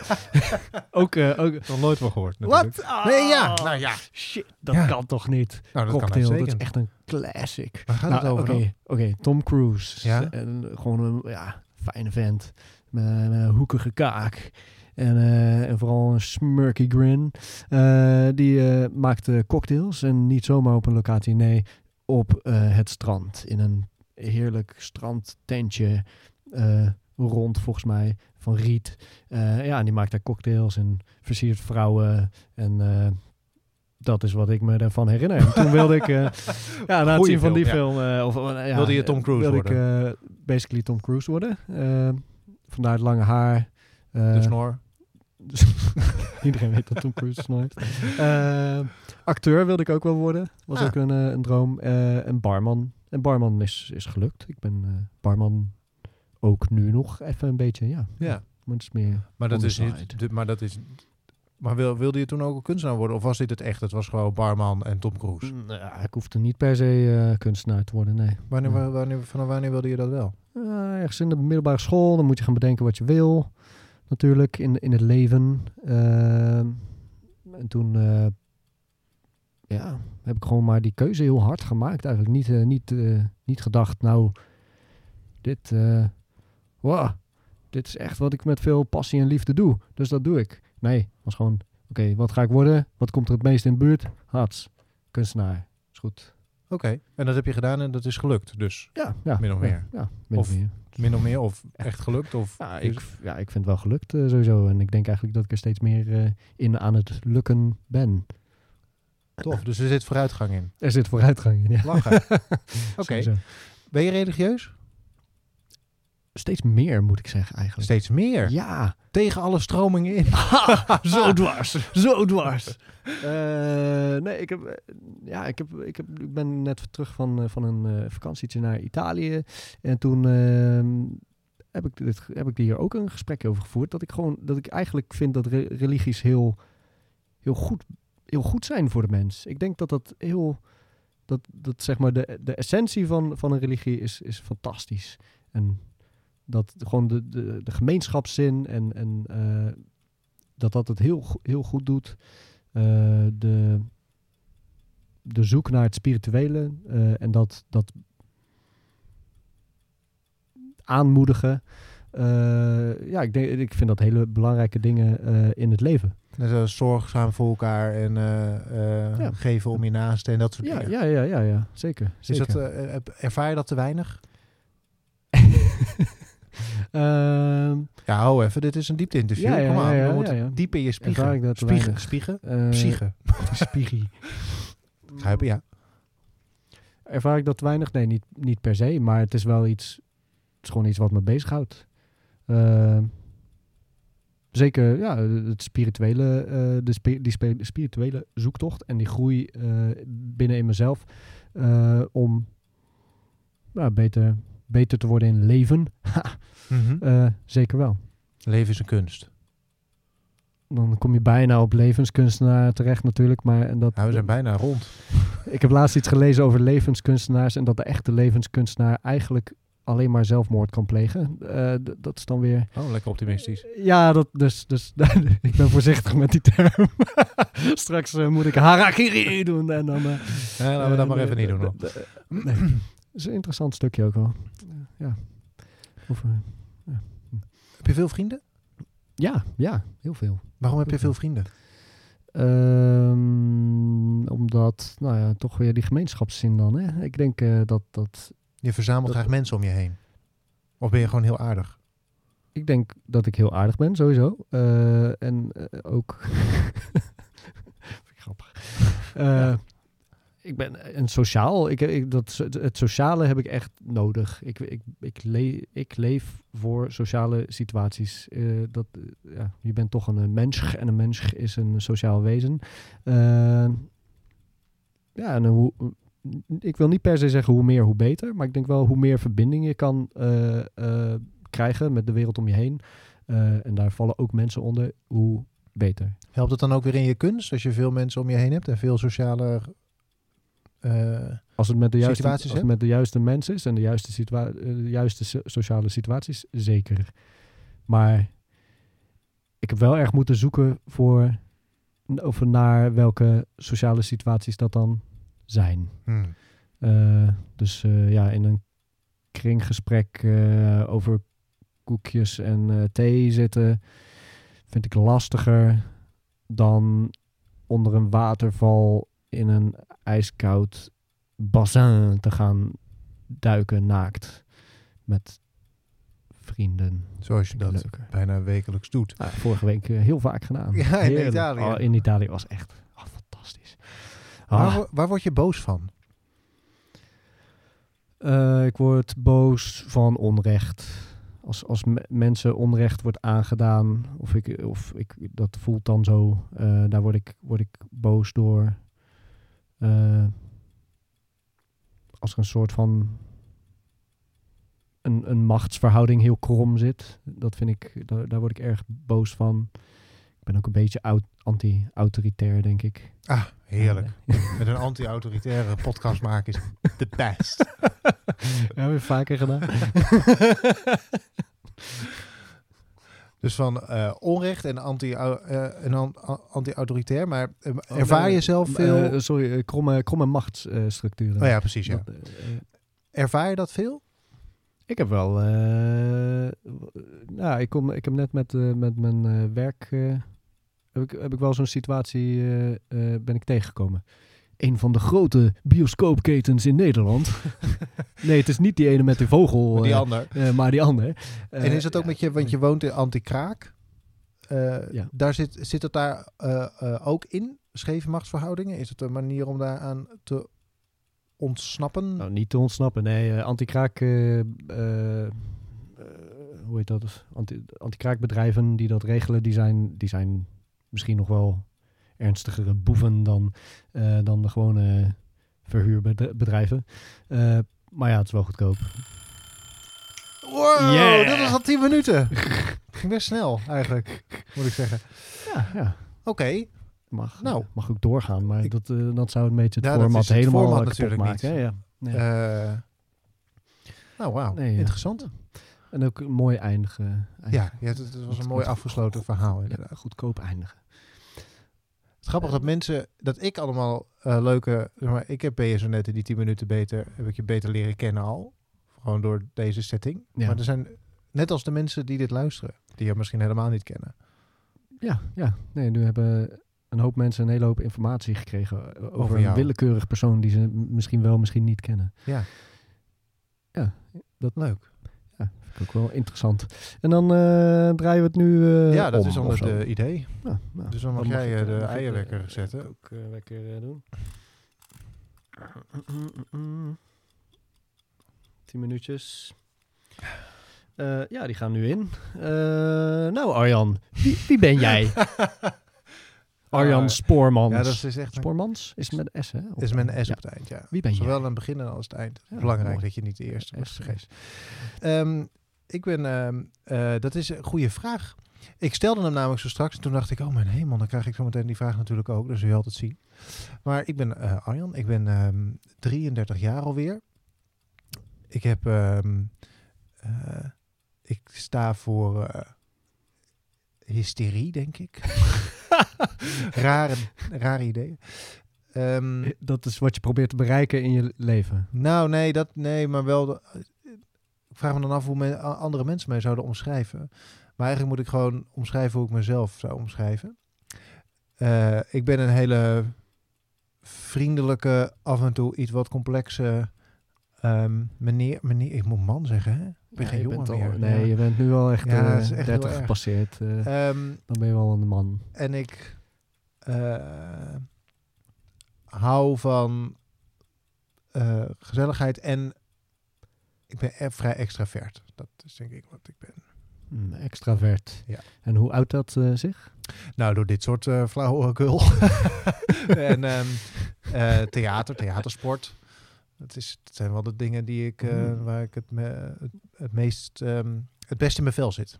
ook, eh, ook... Nog nooit van gehoord Wat? Nee, ja. Ah. Nou ja. Shit, dat Ja. kan toch niet? Nou, dat Cocktail, kan dat is uitstekend. echt een classic. Waar gaat het Nou, over Oké, dan? oké, Tom Cruise. Ja? En gewoon een ja, fijne vent. Met, met een hoekige kaak. En, eh, en vooral een smirky grin. Eh, die eh, maakt eh, cocktails. En niet zomaar op een locatie. Nee, op eh, het strand. In een heerlijk strandtentje. eh, rond volgens mij. Van riet. Eh, ja, en die maakt daar cocktails. En versiert vrouwen. En eh, dat is wat ik me daarvan herinner. En toen wilde ik... eh, ja, na het Goeie zien van die film, ja. film. eh, of, eh, ja, Wilde je Tom Cruise wilde ik eh, basically Tom Cruise worden. Eh, vandaar het lange haar. Eh, de snor. iedereen weet dat Tom Cruise nooit. Eh, acteur wilde ik ook wel worden. Was Ah. ook een, eh, een droom. Eh, en barman. En barman is, is gelukt. Ik ben eh, barman ook nu nog even een beetje. Ja, Ja. maar het is meer... Maar dat On the is side. niet... de- maar dat is... Maar wil, wilde je toen ook een kunstenaar worden? Of was dit het echt? Het was gewoon barman en Tom Cruise. Nou, ik hoefde niet per se eh, kunstenaar te worden, nee. Wanneer, wa- wanneer, vanaf wanneer wilde je dat wel? Eh, ergens in de middelbare school, dan moet je gaan bedenken wat je wil. Natuurlijk, in, in het leven. Ehm, en toen eh, ja, heb ik gewoon maar die keuze heel hard gemaakt. Eigenlijk niet, eh, niet, eh, niet gedacht, nou, dit, eh, wow, dit is echt wat ik met veel passie en liefde doe. Dus dat doe ik. Nee, het was gewoon, oké, wat ga ik worden? Wat komt er het meest in de buurt? Hats, kunstenaar. Is goed. Oké. En dat heb je gedaan en dat is gelukt dus. Ja, ja Min of ja, meer. Ja, min of, Of- meer. Min of meer. Of echt gelukt. Of Ja, ik, ja, ik vind het wel gelukt eh, sowieso. En ik denk eigenlijk dat ik er steeds meer eh, in aan het lukken ben. Tof, dus er zit vooruitgang in. Er zit vooruitgang in, ja. Lachen. Oké. Sowieso. Ben je religieus? Steeds meer, moet ik zeggen eigenlijk. Steeds meer. Ja. Tegen alle stromingen in. Ha, zo dwars, Ah. zo dwars. Eh, nee, ik, heb, eh, ja, ik, heb, ik, heb, ik ben net terug van, eh, van een eh, vakantietje naar Italië. En toen ehm, heb, ik dit, heb ik hier ook een gesprek over gevoerd. Dat ik, gewoon, dat ik eigenlijk vind dat re- religies heel, heel, goed, heel goed zijn voor de mens. Ik denk dat dat heel... Dat, dat zeg maar de, de essentie van, van een religie is, is fantastisch. En dat gewoon de, de, de gemeenschapszin en, en eh, dat dat het heel, go- heel goed doet. Eh, de, de zoek naar het spirituele eh, en dat, dat aanmoedigen. Eh, ja, ik, denk, ik vind dat hele belangrijke dingen eh, in het leven. Net als eh, zorgzaam voor elkaar en eh, eh, Ja. geven om je naasten en dat soort Ja, dingen. ja, ja, ja, ja zeker. Is zeker. dat, eh, eh, ervaar je dat te weinig? Ehm, Ja, hou even. Dit is een diepte interview. Ja, ja, Kom aan. ja, ja, dan wordt ja, het ja. diep in je spiegel. Ervaar ik dat te spiegel, weinig? spiegel, eh, Spiegel. Spiegie. Grijpen, ja. Ervaar ik dat weinig? Nee, niet, niet per se. Maar het is wel iets. Het is gewoon iets wat me bezighoudt. Eh, zeker, ja, het spirituele, eh, de spi- die spi- spirituele zoektocht en die groei eh, binnen in mezelf. eh, om nou, beter, beter te worden in leven. Ha, Mhm. eh, zeker wel. Leven is een kunst. Dan kom je bijna op levenskunstenaar terecht natuurlijk. Maar en dat, Nou, we zijn bijna rond. Ik heb laatst iets gelezen over levenskunstenaars en dat de echte levenskunstenaar eigenlijk alleen maar zelfmoord kan plegen. Eh, d- dat is dan weer. Oh, lekker optimistisch. Ja, dat, dus, dus ik ben voorzichtig met die term. Straks eh, moet ik harakiri doen en dan. eh, Eh, laten we dat eh, maar nee, even niet doen. d- hoor. d- eh, nee. Dat is een interessant stukje ook wel. Eh, Ja. Of, eh, Heb je veel vrienden? ja, ja, heel veel. Waarom heb je veel vrienden? Ehm, omdat, nou ja, toch weer die gemeenschapszin dan. Hè? Ik denk eh, dat, dat Je verzamelt Dat- graag mensen om je heen. Of ben je gewoon heel aardig? Ik denk dat ik heel aardig ben, sowieso. Eh, en eh, ook. Vind ik grappig. Eh, Ik ben een sociaal. Ik, ik, dat, so- het sociale heb ik echt nodig. Ik, ik, ik, le- ik leef voor sociale situaties. Eh, dat, eh, ja, je bent toch een eh, mens en een mens is een sociaal wezen. Eh, ja, en hoe, ik wil niet per se zeggen hoe meer, hoe beter. Maar ik denk wel hoe meer verbinding je kan eh, eh, krijgen met de wereld om je heen. eh, en daar vallen ook mensen onder, hoe beter. Helpt het dan ook weer in je kunst als je veel mensen om je heen hebt en veel sociale. eh, Als het met de juiste, Situaties, als het hè? met de juiste mensen is en de juiste, situa- eh, de juiste so- sociale situaties, zeker. Maar ik heb wel erg moeten zoeken voor, of naar welke sociale situaties dat dan zijn. hmm. Eh, dus eh, ja, in een kringgesprek eh, over koekjes en eh, thee zitten vind ik lastiger dan onder een waterval in een ijskoud bassin te gaan duiken naakt met vrienden. Zoals je Vind ik dat leuker. bijna wekelijks doet. Ah, vorige week eh, heel vaak gedaan. Ja, in Heerlijk. Italië. Oh, in Italië was echt oh, fantastisch. Ah. Waar, wo- waar word je boos van? Eh, ik word boos van onrecht. Als, als me- mensen onrecht wordt aangedaan, of, ik, of ik, dat voelt dan zo, eh, daar word ik, word ik boos door. Eh, als er een soort van een, een machtsverhouding heel krom zit, dat vind ik, daar, daar word ik erg boos van. Ik ben ook een beetje oud- anti-autoritair, denk ik. Ah, heerlijk. Eh. Met een anti-autoritaire podcast maken is de best. Ja, weer vaker gedaan. Dus van eh, onrecht en anti- au- eh, en an- a- anti-autoritair. maar eh, Oh, ervaar nee, je zelf eh, veel... eh, sorry, eh, kromme, kromme machtsstructuren. oh ja, precies. Ja. Dat, eh, eh, Ervaar je dat veel? ik heb wel. eh, w- nou, ik, kom, ik heb net met, eh, met mijn eh, werk. eh, heb, ik, heb ik wel zo'n situatie. eh, eh, ben ik tegengekomen. Een van de grote bioscoopketens in Nederland. nee, het is niet die ene met de vogel, Die eh, ander. eh, maar die andere. Eh, en is het ook met je, want je woont in Antikraak. Eh, Ja. daar zit, zit het daar eh, eh, ook in, scheve machtsverhoudingen? Is het een manier om daaraan te ontsnappen? Hm. Oh. Nou, niet te ontsnappen. Nee, eh, anti-kraak eh, eh, eh, hoe heet dat, anti, antikraakbedrijven die dat regelen, die zijn, die zijn misschien nog wel ernstigere boeven dan, eh, dan de gewone verhuurbedrijven. Eh, maar ja, het is wel goedkoop. Wow, Yeah. dat was al 10 minuten. Ging best snel eigenlijk, moet ik zeggen. Ja, ja. Oké, Mag, Nou. mag ook doorgaan, maar Ik- dat, eh, dat zou een beetje Ja, het dat format is het helemaal format kapot natuurlijk maken. niet. hè, Ja, Nee. Eh, nou, wauw. Nee, ja. Interessant. En ook een mooi eindigen. eindigen. Ja, ja het, het was een mooi afgesloten verhaal Ja, inderdaad. eh, goedkoop eindigen. Het is grappig dat mensen, dat ik allemaal eh, leuke, zeg maar, ik heb ben je zo net in die 10 minuten beter, heb ik je beter leren kennen al. Gewoon door deze setting. Ja. Maar er zijn, net als de mensen die dit luisteren, die je misschien helemaal niet kennen. Ja, ja. Nee, nu hebben een hoop mensen een hele hoop informatie gekregen eh, over, Over een jou. willekeurig persoon die ze m- misschien wel, misschien niet kennen. Ja. Ja, dat Leuk. ja, vind ik ook wel interessant. En dan eh, draaien we het nu eh, ja, dat om is of anders zo. het idee. Ja, nou, Dus dan mag jij, ik, eh, eh, de mag ik, eh, eierwekker zetten. Ook eh, wekker eh, doen. 10 minuutjes. Eh, ja, die gaan nu in. Eh, nou, Arjan, wie, wie ben jij? Arjan Eh, Spoormans. Ja, dat is echt een, Spoormans is met S, hè? Of- is met een S Ja. op het eind, ja. Wie ben jij? Zowel aan het begin als het eind. Ja, Belangrijk mooi. dat je niet de eerste bent S, vergeten. Ehm, ik ben, ehm, eh, dat is een goede vraag. Ik stelde hem namelijk zo straks en toen dacht ik, oh mijn hemel, dan krijg ik zo meteen die vraag natuurlijk ook. Dus zul je altijd zien. Maar ik ben eh, Arjan, ik ben ehm, 33 jaar alweer. Ik heb, ehm, eh, ik sta voor eh, hysterie, denk ik. rare, rare idee. Ehm, Eh, Dat is wat je probeert te bereiken in je leven. nou, nee, dat, nee maar wel. de- ik vraag me dan af hoe men, a- andere mensen mij zouden omschrijven. Maar eigenlijk moet ik gewoon omschrijven hoe ik mezelf zou omschrijven. Eh, ik ben een hele vriendelijke, af en toe iets wat complexe ehm, meneer. meneer. Ik moet man zeggen, hè? Ik ben Ja, geen je jongen bent al- meer. Nee, je bent nu al echt, Ja, eh, het is echt heel 30 erg. gepasseerd. eh, Ehm, dan ben je wel een man. en ik eh, hou van eh, gezelligheid en ik ben e- vrij extravert. Dat is denk ik wat ik ben. Mm, extravert. Ja. En hoe oud dat eh, zich? Nou, door dit soort eh flauwekul. en ehm, eh, theater, theatersport. Dat, is, dat zijn wel de dingen die ik, eh, Mm. waar ik het, me- het, het meest, ehm, het best in mijn vel zit.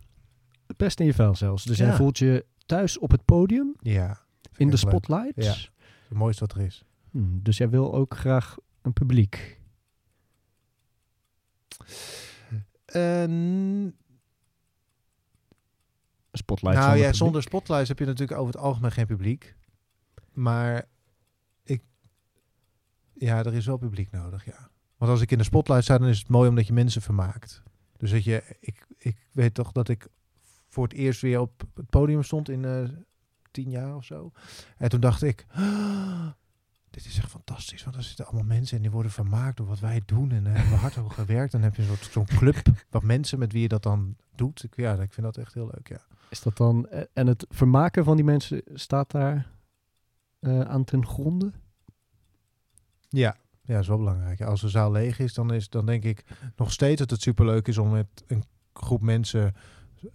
Het best in je vel zelfs. Dus jij Ja. voelt je thuis op het podium, Ja. Vind ik in de echt leuk. spotlight. Ja. Het mooiste wat er is. Mm, dus jij wil ook graag een publiek. Eh, Een spotlight nou ja, publiek. zonder spotlights heb je natuurlijk over het algemeen geen publiek. Maar ik. Ja, er is wel publiek nodig, ja. Want als ik in de spotlight sta, dan is het mooi omdat je mensen vermaakt. Dus dat je. Ik, ik weet toch dat ik voor het eerst weer op het podium stond in eh, tien jaar of zo. En toen dacht ik. "Ah, dit is echt fantastisch, want er zitten allemaal mensen en die worden vermaakt door wat wij doen. En daar hebben we hard over gewerkt. Dan heb je een soort zo'n club, wat mensen met wie je dat dan doet. Ik, ja, ik vind dat echt heel leuk, ja. Is dat dan... eh, en het vermaken van die mensen staat daar eh, aan ten gronde? Ja, ja, dat is wel belangrijk. Ja, als de zaal leeg is, dan is dan denk ik nog steeds dat het superleuk is om met een groep mensen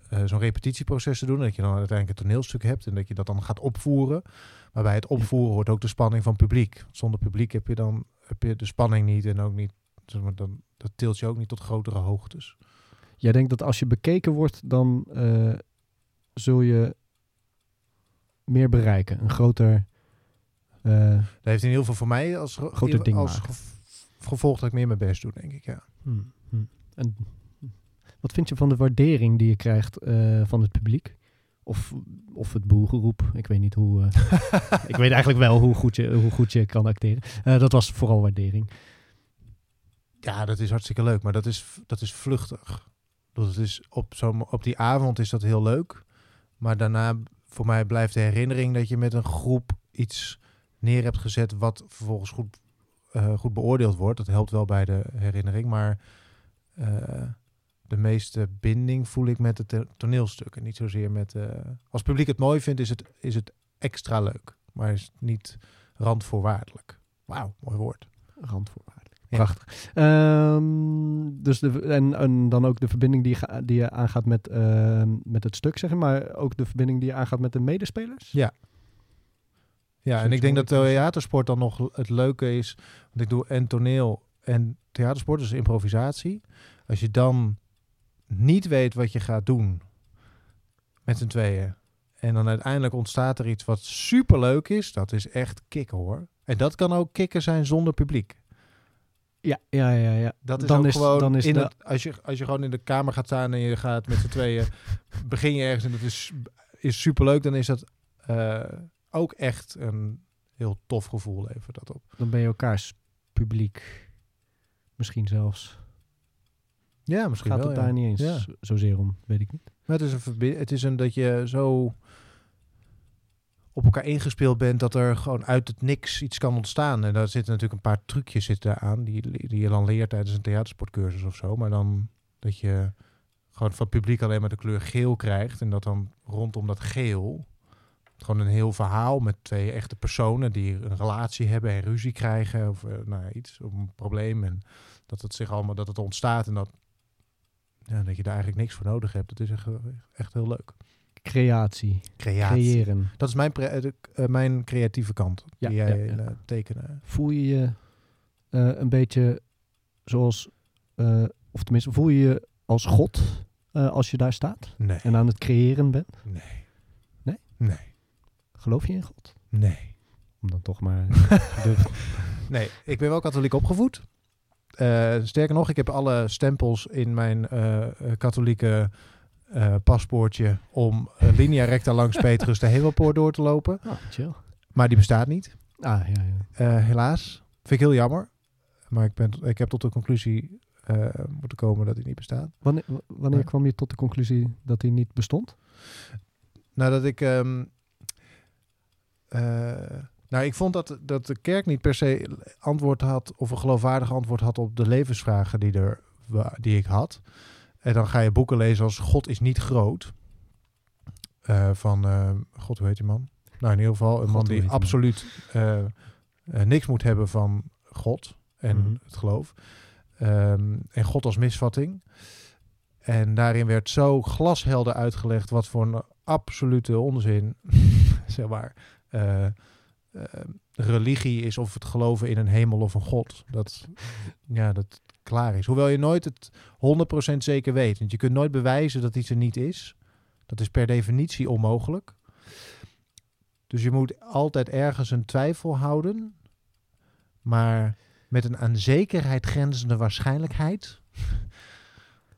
eh, zo'n repetitieproces te doen. Dat je dan uiteindelijk een toneelstuk hebt en dat je dat dan gaat opvoeren. Maar bij het opvoeren hoort ook de spanning van publiek. Zonder publiek heb je dan heb je de spanning niet en ook niet. zeg maar, Dan, dat tilt je ook niet tot grotere hoogtes. Jij denkt dat als je bekeken wordt, dan eh, zul je meer bereiken. Een groter... eh, Dat heeft in ieder geval voor mij als, ge- Groter ding als maken. gev- gevolg dat ik meer mijn best doe, denk ik. Ja. Hmm, hmm. En wat vind je van de waardering die je krijgt eh, van het publiek? Of, of het boelgeroep? Ik weet niet hoe. eh, ik weet eigenlijk wel hoe goed je, hoe goed je kan acteren. Eh, dat was vooral waardering. Ja, dat is hartstikke leuk, maar dat is, dat is vluchtig. Dus het is op, zo, op die avond is dat heel leuk. Maar daarna, voor mij blijft de herinnering dat je met een groep iets neer hebt gezet wat vervolgens goed, eh, goed beoordeeld wordt. Dat helpt wel bij de herinnering, maar eh, de meeste binding voel ik met het to- toneelstuk. En niet zozeer met... eh, als het publiek het mooi vindt, is het, is het extra leuk. Maar is het niet randvoorwaardelijk. Wauw, mooi woord. Randvoorwaardelijk. Prachtig. Ehm, dus de, en, en dan ook de verbinding die je, ga- die je aangaat met, ehm, met het stuk, zeg maar. Ook de verbinding die je aangaat met de medespelers. Ja, en Zoiets ik denk dat mogelijk is. theatersport dan nog het leuke is. Want ik doe en toneel en theatersport, dus improvisatie. Als je dan niet weet wat je gaat doen met z'n tweeën. En dan uiteindelijk ontstaat er iets wat superleuk is. Dat is echt kicken hoor. En dat kan ook kicken zijn zonder publiek. Ja, ja, ja. ja. Dat is Dan ook is- gewoon dan is in de- het- als, je, als je gewoon in de kamer gaat staan en je gaat met z'n tweeën begin je ergens en dat is, is superleuk, dan is dat eh, ook echt een heel tof gevoel levert dat op. Dan ben je elkaars publiek. Misschien zelfs. Ja, misschien Gaat wel. het ja. daar niet eens Ja. zo- zozeer om, weet ik niet. Maar het is, een verbi- het is een dat je zo op elkaar ingespeeld bent dat er gewoon uit het niks iets kan ontstaan. En daar zitten natuurlijk een paar trucjes zitten daar aan die, die je dan leert tijdens een theatersportcursus of zo. Maar dan dat je gewoon van het publiek alleen maar de kleur geel krijgt en dat dan rondom dat geel gewoon een heel verhaal met twee echte personen die een relatie hebben en ruzie krijgen of eh, nou ja, iets, of een probleem en dat het zich allemaal dat het ontstaat en dat ja, dat je daar eigenlijk niks voor nodig hebt. Dat is echt, echt heel leuk. Creatie. Creatie. Creëren. Dat is mijn, pre- eh, de- eh, mijn creatieve kant. Ja, die jij ja, ja. in, eh, tekenen. voel je je eh, een beetje zoals, eh, of tenminste, voel je je als God eh, als je daar staat Nee. en aan het creëren bent? Nee. Nee? Nee. Geloof je in God? Nee. Om dan toch maar. Nee, ik ben wel katholiek opgevoed. Eh, sterker nog, ik heb alle stempels in mijn eh, eh, katholieke eh, paspoortje om eh, linea recta langs Petrus de Hemelpoort door te lopen. Ah, chill. Maar die bestaat niet. Ah, ja, ja. Eh, helaas. Vind ik heel jammer. Maar ik, ben, ik heb tot de conclusie eh, moeten komen dat die niet bestaat. Wanneer, w- wanneer Ja. kwam je tot de conclusie dat hij niet bestond? Nadat ik. ehm, eh, nou, ik vond dat, dat de kerk niet per se antwoord had. of een geloofwaardig antwoord had op de levensvragen die, er, wa- die ik had. En dan ga je boeken lezen als God is niet groot. Eh, van. eh, God, hoe heet die man? Nou, in ieder geval een God, man hoe heet die die man? absoluut eh, eh, niks moet hebben van God en Mhm. het geloof. Ehm, en God als misvatting. En daarin werd zo glashelder uitgelegd wat voor een absolute onzin, zeg maar, eh, eh, religie is of het geloven in een hemel of een God. Dat, ja, dat klaar is. Hoewel je nooit het 100% zeker weet. Want je kunt nooit bewijzen dat iets er niet is. Dat is per definitie onmogelijk. Dus je moet altijd ergens een twijfel houden. Maar met een aan zekerheid grenzende waarschijnlijkheid.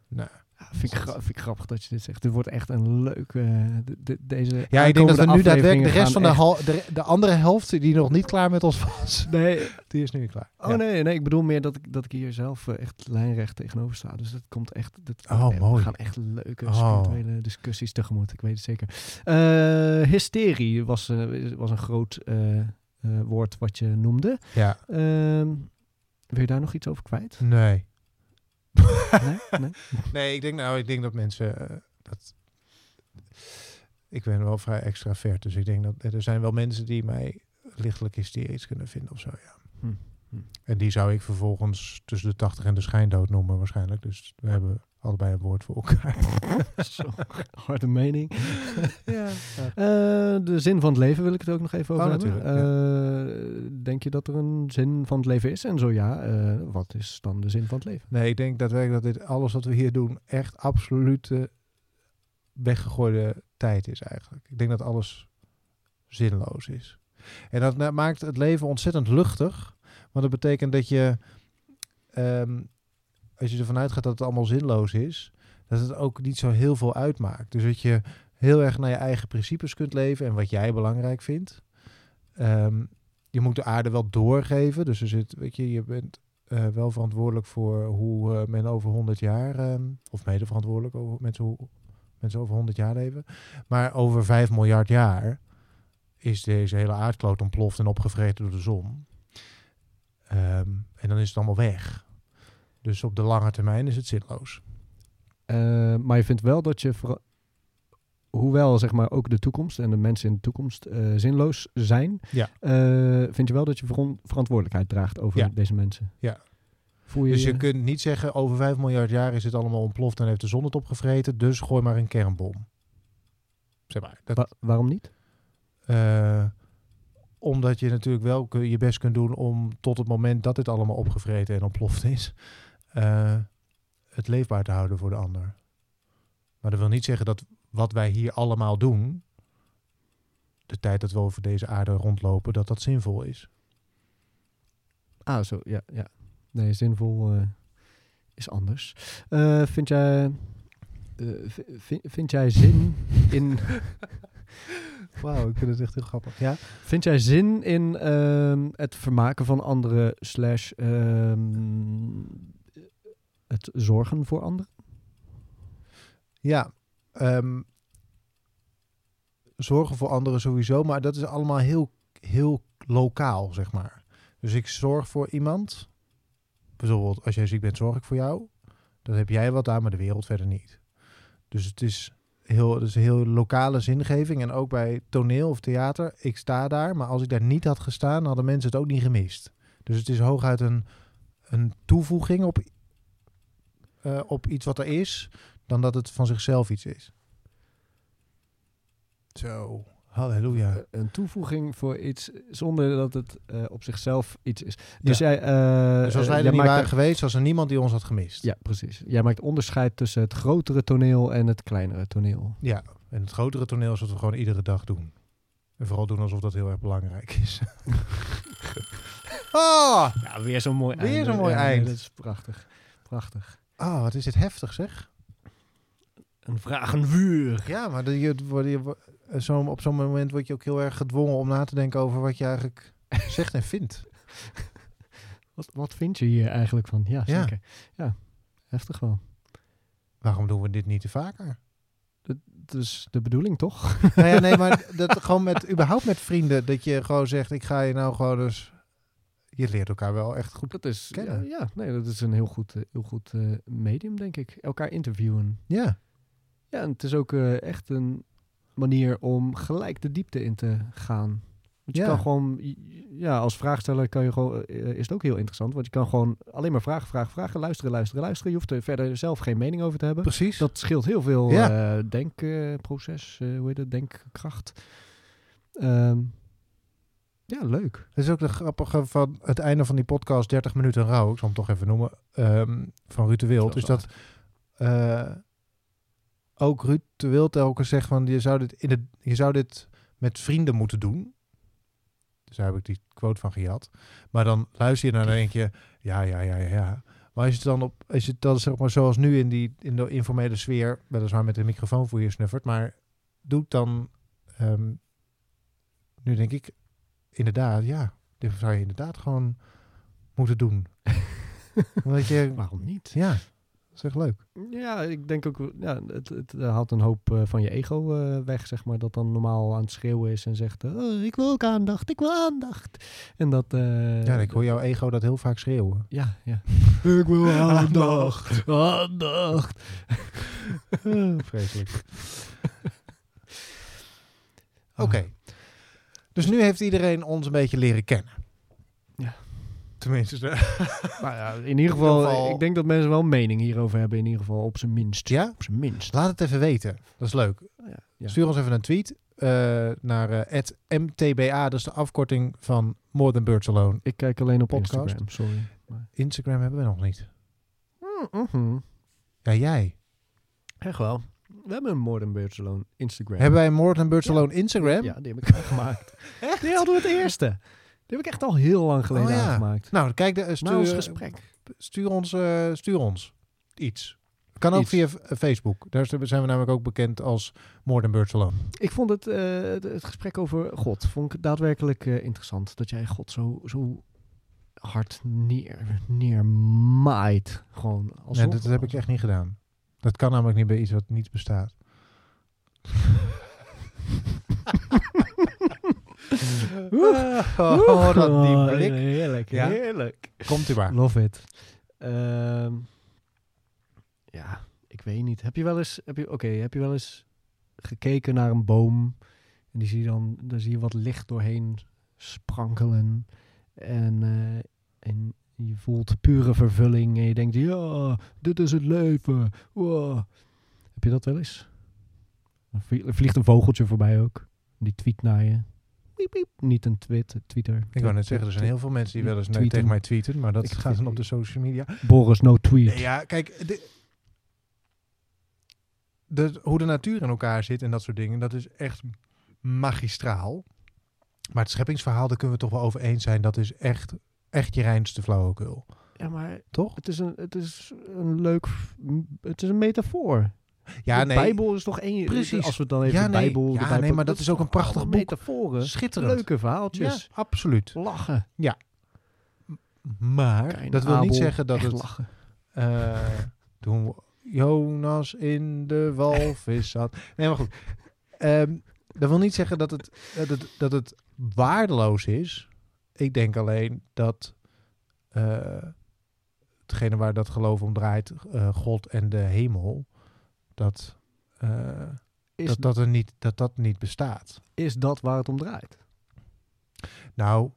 Ja, vind, ik gra- vind ik grappig dat je dit zegt. Dit wordt echt een leuke. eh, de- de- deze Ja, ik denk dat we nu aankomende daadwerkelijk de afleveringen rest van de, gaan hal- de, de andere helft die nog niet klaar met ons was, echt- Nee, die is nu klaar. Oh Ja. nee, nee, ik bedoel meer dat ik, dat ik hier zelf eh, echt lijnrecht tegenover sta. Dus dat komt echt. Dat, Oh, eh, mooi. We gaan echt leuke Oh. spirituele discussies tegemoet. Ik weet het zeker. Eh, hysterie was, eh, was een groot eh, eh, woord wat je noemde. Ja, Ehm, wil je daar nog iets over kwijt? nee. Nee? nee? Nee, ik denk, nou, ik denk dat mensen. eh, dat... Ik ben wel vrij extravert, dus ik denk dat er zijn wel mensen die mij lichtelijk hysterisch kunnen vinden of zo. Ja. Hm, hm. En die zou ik vervolgens tussen de 80 en de schijndood noemen, waarschijnlijk. Dus we hebben allebei een woord voor elkaar. Zo, harde mening. ja, Eh, de zin van het leven wil ik het ook nog even Oh, over hebben. Eh, Denk je dat er een zin van het leven is? En zo ja, eh, wat is dan de zin van het leven? Nee, ik denk daadwerkelijk dat dit alles wat we hier doen echt absolute weggegooide tijd is eigenlijk. Ik denk dat alles zinloos is. En dat na- maakt het leven ontzettend luchtig. Want dat betekent dat je, ehm, als je ervan uitgaat dat het allemaal zinloos is, dat het ook niet zo heel veel uitmaakt. Dus dat je heel erg naar je eigen principes kunt leven en wat jij belangrijk vindt. Ehm, je moet de aarde wel doorgeven. Dus er zit, weet je, je bent eh, wel verantwoordelijk voor hoe eh, men over 100 jaar, eh, of mede verantwoordelijk over mensen, hoe mensen over 100 jaar leven. Maar over 5 miljard jaar is deze hele aardkloot ontploft en opgevreten door de zon. Ehm, en dan is het allemaal weg. Dus op de lange termijn is het zinloos. Eh, maar je vindt wel dat je, vera- hoewel zeg maar ook de toekomst en de mensen in de toekomst eh, zinloos zijn, Ja. eh, vind je wel dat je veron- verantwoordelijkheid draagt over Ja. deze mensen. Ja. Voel je Dus je- je kunt niet zeggen, over 5 miljard jaar is het allemaal ontploft en heeft de zon het opgevreten, dus gooi maar een kernbom. Zeg maar. Dat, Wa- waarom niet? eh, omdat je natuurlijk wel kun- je best kunt doen om tot het moment dat dit allemaal opgevreten en ontploft is, eh, het leefbaar te houden voor de ander. Maar dat wil niet zeggen dat wat wij hier allemaal doen, de tijd dat we over deze aarde rondlopen, dat dat zinvol is. Ah, zo, ja. ja. Nee, zinvol eh, is anders. Eh, vind jij... eh, vi- vi- vind jij zin in... Wauw, ik vind het echt heel grappig. Ja? Vind jij zin in ehm, het vermaken van anderen slash ehm, het zorgen voor anderen? Ja, ehm, zorgen voor anderen sowieso, maar dat is allemaal heel, heel lokaal, zeg maar. Dus ik zorg voor iemand. Bijvoorbeeld, als jij ziek bent, zorg ik voor jou. Dan heb jij wat aan, maar de wereld verder niet. Dus het is heel, het is een heel lokale zingeving. En ook bij toneel of theater, ik sta daar, maar als ik daar niet had gestaan, hadden mensen het ook niet gemist. Dus het is hooguit een, een toevoeging op, eh, op iets wat er is dan dat het van zichzelf iets is. Zo, halleluja. Eh, Een toevoeging voor iets zonder dat het eh, op zichzelf iets is. Dus jij, eh Dus als wij eh, er jij niet maakt waren een- geweest, was er niemand die ons had gemist. Ja, precies. Jij maakt onderscheid tussen het grotere toneel en het kleinere toneel. Ja, en het grotere toneel is wat we gewoon iedere dag doen. En vooral doen alsof dat heel erg belangrijk is. Ah, Ja, weer zo'n mooi Weer einde. zo'n mooi Ja, eind. Dat is prachtig. Prachtig. ah, wat is dit heftig zeg. Een vragenvuur. Ja, maar dat je, word je, wo- eh, zo, op zo'n moment word je ook heel erg gedwongen om na te denken over wat je eigenlijk zegt en vindt. Wat, wat vind je hier eigenlijk van? Ja, Ja. zeker. Ja, heftig wel. Waarom doen we dit niet te vaker? Het is de bedoeling, toch? nou ja, nee, maar dat gewoon met, überhaupt met vrienden, dat je gewoon zegt, ik ga je nou gewoon dus... Je leert elkaar wel echt goed Dat is, ja, Kennen. ja, nee, dat is een heel goed, eh, heel goed eh, medium, denk ik. Elkaar interviewen. Ja, Ja, en het is ook eh, echt een manier om gelijk de diepte in te gaan. Want je Ja. kan gewoon, j- ja, als vraagsteller kan je gewoon, eh, is het ook heel interessant. Want je kan gewoon alleen maar vragen, vragen, vragen, luisteren, luisteren, luisteren. Je hoeft er verder zelf geen mening over te hebben. precies. Dat scheelt heel veel eh, Ja. denkproces, eh, hoe heet dat, denkkracht. Ehm, ja, leuk. Dat is ook de grappige van het einde van die podcast 30 minuten rouw, ik zal hem toch even noemen, ehm, van Ruud de Wild. Is dat eh, ook Ruud de Wild telkens zegt van je zou, dit in de, je zou dit met vrienden moeten doen. Dus daar heb ik die quote van gejat. Maar dan luister je naar en dan denk je, ja, ja, ja, ja, ja. Maar als je het dan op, als je het dan zeg maar zoals nu in die in de informele sfeer, weliswaar met een microfoon voor je snuffert, maar doe het dan. ehm, nu denk ik, inderdaad, ja, dit zou je inderdaad gewoon moeten doen. Omdat je, Waarom niet? ja, zeg leuk. Ja, ik denk ook, ja, het, het eh, haalt een hoop eh, van je ego eh, weg, zeg maar. Dat dan normaal aan het schreeuwen is en zegt, "Oh, ik wil ook aandacht, ik wil aandacht. En dat... eh, Ja, ik hoor jouw ego dat heel vaak schreeuwen. Ja, ja. ik wil aandacht, aandacht. Vreselijk. Oké. Dus nu heeft iedereen ons een beetje leren kennen. Ja. Tenminste. eh, Nou ja, in ieder geval, eh, ieder geval- ik denk dat mensen wel een mening hierover hebben, in ieder geval, op zijn minst. Ja? Op zijn minst. Laat het even weten. Dat is leuk. Ja, ja. Stuur ons even een tweet eh, naar eh, @mtba. Dat is de afkorting van More Than Birds Alone. Ik kijk alleen op Podcast. Instagram, sorry. Maar- Instagram hebben we nog niet. Mm-hmm. Ja, jij. Mm-hmm. Echt wel. We hebben een Modern Birds Alone Instagram. Hebben wij een More Than Birds Ja. Alone Instagram? Ja, die heb ik aangemaakt. Die hadden we het eerste. Die heb ik echt al heel lang geleden Oh, ja. aangemaakt. Nou, kijk, de, eh, stuur, Na ons gesprek. stuur ons, eh, stuur ons iets. Kan ook Iets. via eh, Facebook. Daar zijn we namelijk ook bekend als More Than Birds Alone. Ik vond het, eh, het, het gesprek over God vond ik daadwerkelijk eh, interessant. Dat jij God zo, zo hard neer, neermaait. Gewoon als Nee, dat, dat heb ik echt niet gedaan. Dat kan namelijk niet bij iets wat niet bestaat. oh, dat die blik. Heerlijk, Ja. heerlijk. Komt u maar. Love it. Ah. Ehm, ja, ik weet niet. Heb je wel eens, heb je, oké, heb je wel eens gekeken naar een boom en die zie je dan, daar zie je wat licht doorheen sprankelen en, eh, en Je voelt pure vervulling en je denkt, ja, dit is het leven. Wow. Heb je dat wel eens? Er vlie- er vliegt een vogeltje voorbij ook. Die tweet naar je. Piep, piep. Niet een twit, een tweeter. Ik wou net zeggen, er zijn heel veel mensen die wel eens nee, Tweeten. tegen mij tweeten, maar dat Ik- gaat dan op de social media. Boris, no tweet. Nee, ja, kijk, de, de- hoe de natuur in elkaar zit en dat soort dingen, dat is echt magistraal. Maar het scheppingsverhaal, daar kunnen we het toch wel over eens zijn, dat is echt, echt je reinste flauwekul. Ja, maar Toch? Het is een, het is een leuk... f- m- Het is een metafoor. Ja, de nee. Bijbel is toch één... Precies. Als we het dan even Ja, de nee. Bijbel... de Ja, Bijbel- nee, maar dat is ook toch een prachtig allemaal boek. Metaforen. Schitterend. Leuke Ja, verhaaltjes. absoluut. Lachen. Maar Kain, dat wil niet Abel, zeggen dat echt het... lachen. eh, toen we- Jonas in de walvis zat. Nee, maar goed. Ehm, dat wil niet zeggen dat het, dat, het, dat het waardeloos is. Ik denk alleen dat eh hetgene waar dat geloof om draait, eh, God en de hemel, dat, eh, Is, dat, dat, er niet, dat dat niet bestaat. is dat waar het om draait? Nou,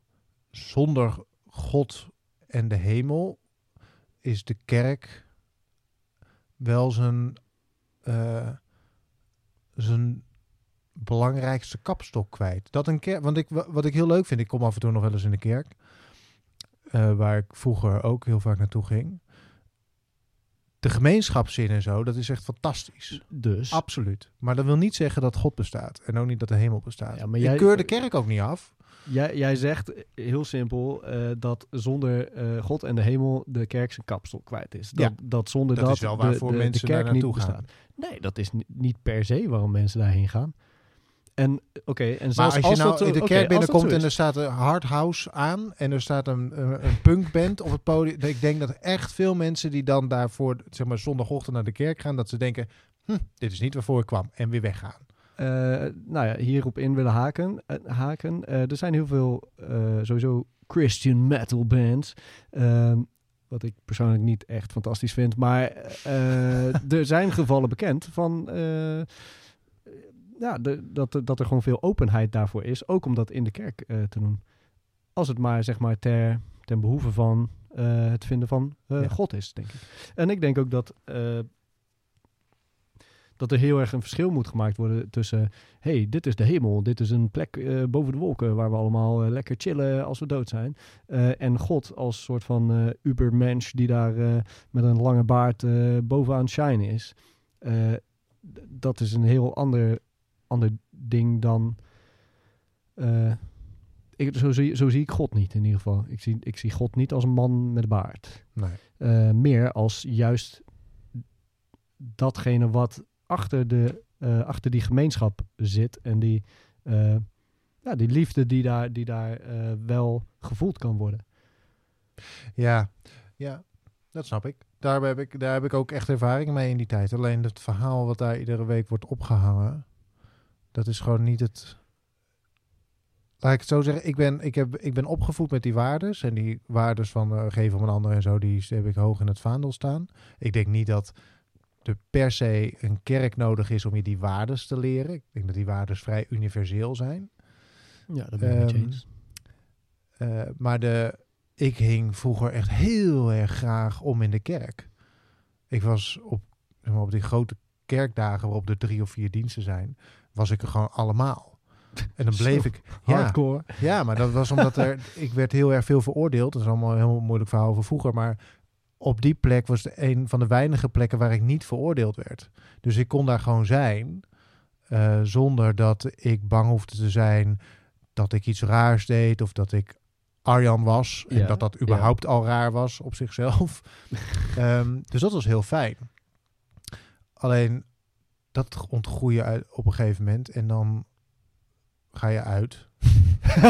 zonder God en de hemel is de kerk wel zijn, eh, zijn belangrijkste kapstok kwijt. Dat een kerk, want ik, wa- wat ik heel leuk vind, ik kom af en toe nog wel eens in de kerk, eh, waar ik vroeger ook heel vaak naartoe ging. De gemeenschapszin en zo, dat is echt fantastisch. Dus... Absoluut. Maar dat wil niet zeggen dat God bestaat. En ook niet dat de hemel bestaat. Ja, maar ik jij- keur de kerk ook niet af. Jij, jij zegt eh, heel simpel eh, dat zonder eh, God en de hemel de kerk zijn kapsel kwijt is. Dat, Ja. dat zonder Dat dat, is wel de- waarvoor de, de mensen kerk daar naartoe niet gaan. bestaat. Nee, dat is ni- niet per se waarom mensen daarheen gaan. En eh, oké, en zelfs maar als je nou dat zo- in de oké, kerk als dat binnenkomt en zo is. er staat een hard house aan en er staat een, een, een punkband op het podium. Ik denk dat echt veel mensen die dan daarvoor zeg maar, zondagochtend naar de kerk gaan, dat ze denken, hm, dit is niet waarvoor ik kwam en weer weggaan. eh, nou ja, hierop in willen haken. eh, haken. Eh, er zijn heel veel eh, sowieso Christian metal bands. Ehm, wat ik persoonlijk niet echt fantastisch vind. Maar eh, er zijn gevallen bekend van. eh, ja, de- dat, er- dat er gewoon veel openheid daarvoor is. Ook om dat in de kerk eh, te doen. Als het maar, zeg maar, ter, ten behoeve van eh, het vinden van eh, Ja. God is, denk ik. En ik denk ook dat. eh, dat er heel erg een verschil moet gemaakt worden tussen... hey, dit is de hemel, dit is een plek eh, boven de wolken... waar we allemaal eh, lekker chillen als we dood zijn. Eh, en God als soort van eh ubermensch die daar eh, met een lange baard eh, bovenaan shine is. Eh, d- dat is een heel ander, ander ding dan... eh, ik, zo, zie, zo zie ik God niet in ieder geval. Ik zie, ik zie God niet als een man met baard. Nee. Eh, meer als juist datgene wat achter, de, eh, achter die gemeenschap zit. En die, eh, ja, die liefde die daar, die daar eh, wel gevoeld kan worden. Ja, ja, dat snap ik. Daar heb ik, daar heb ik ook echt ervaring mee in die tijd. Alleen het verhaal wat daar iedere week wordt opgehangen, dat is gewoon niet het. Laat ik het zo zeggen, ik ben, ik heb, ik ben opgevoed met die waardes. En die waardes van eh, geven om een ander en zo, die heb ik hoog in het vaandel staan. Ik denk niet dat er per se een kerk nodig is om je die waardes te leren. Ik denk dat die waardes vrij universeel zijn. Ja, dat ben ik met je eens. Eh, maar de, ik hing vroeger echt heel erg graag om in de kerk. Ik was op, zeg maar, op die grote kerkdagen waarop er drie of vier diensten zijn, was ik er gewoon allemaal. En dan bleef Zo. ik. Ja, Hardcore. ja, maar dat was omdat er. Ik werd heel erg veel veroordeeld. Dat is allemaal een heel moeilijk verhaal over vroeger. Maar op die plek was het een van de weinige plekken waar ik niet veroordeeld werd. Dus ik kon daar gewoon zijn. eh, zonder dat ik bang hoefde te zijn dat ik iets raars deed. Of dat ik Arjan was. En Ja, dat dat überhaupt al raar was op zichzelf. Ehm, dus dat was heel fijn. Alleen dat ontgroeien uit, op een gegeven moment. En dan ga je uit.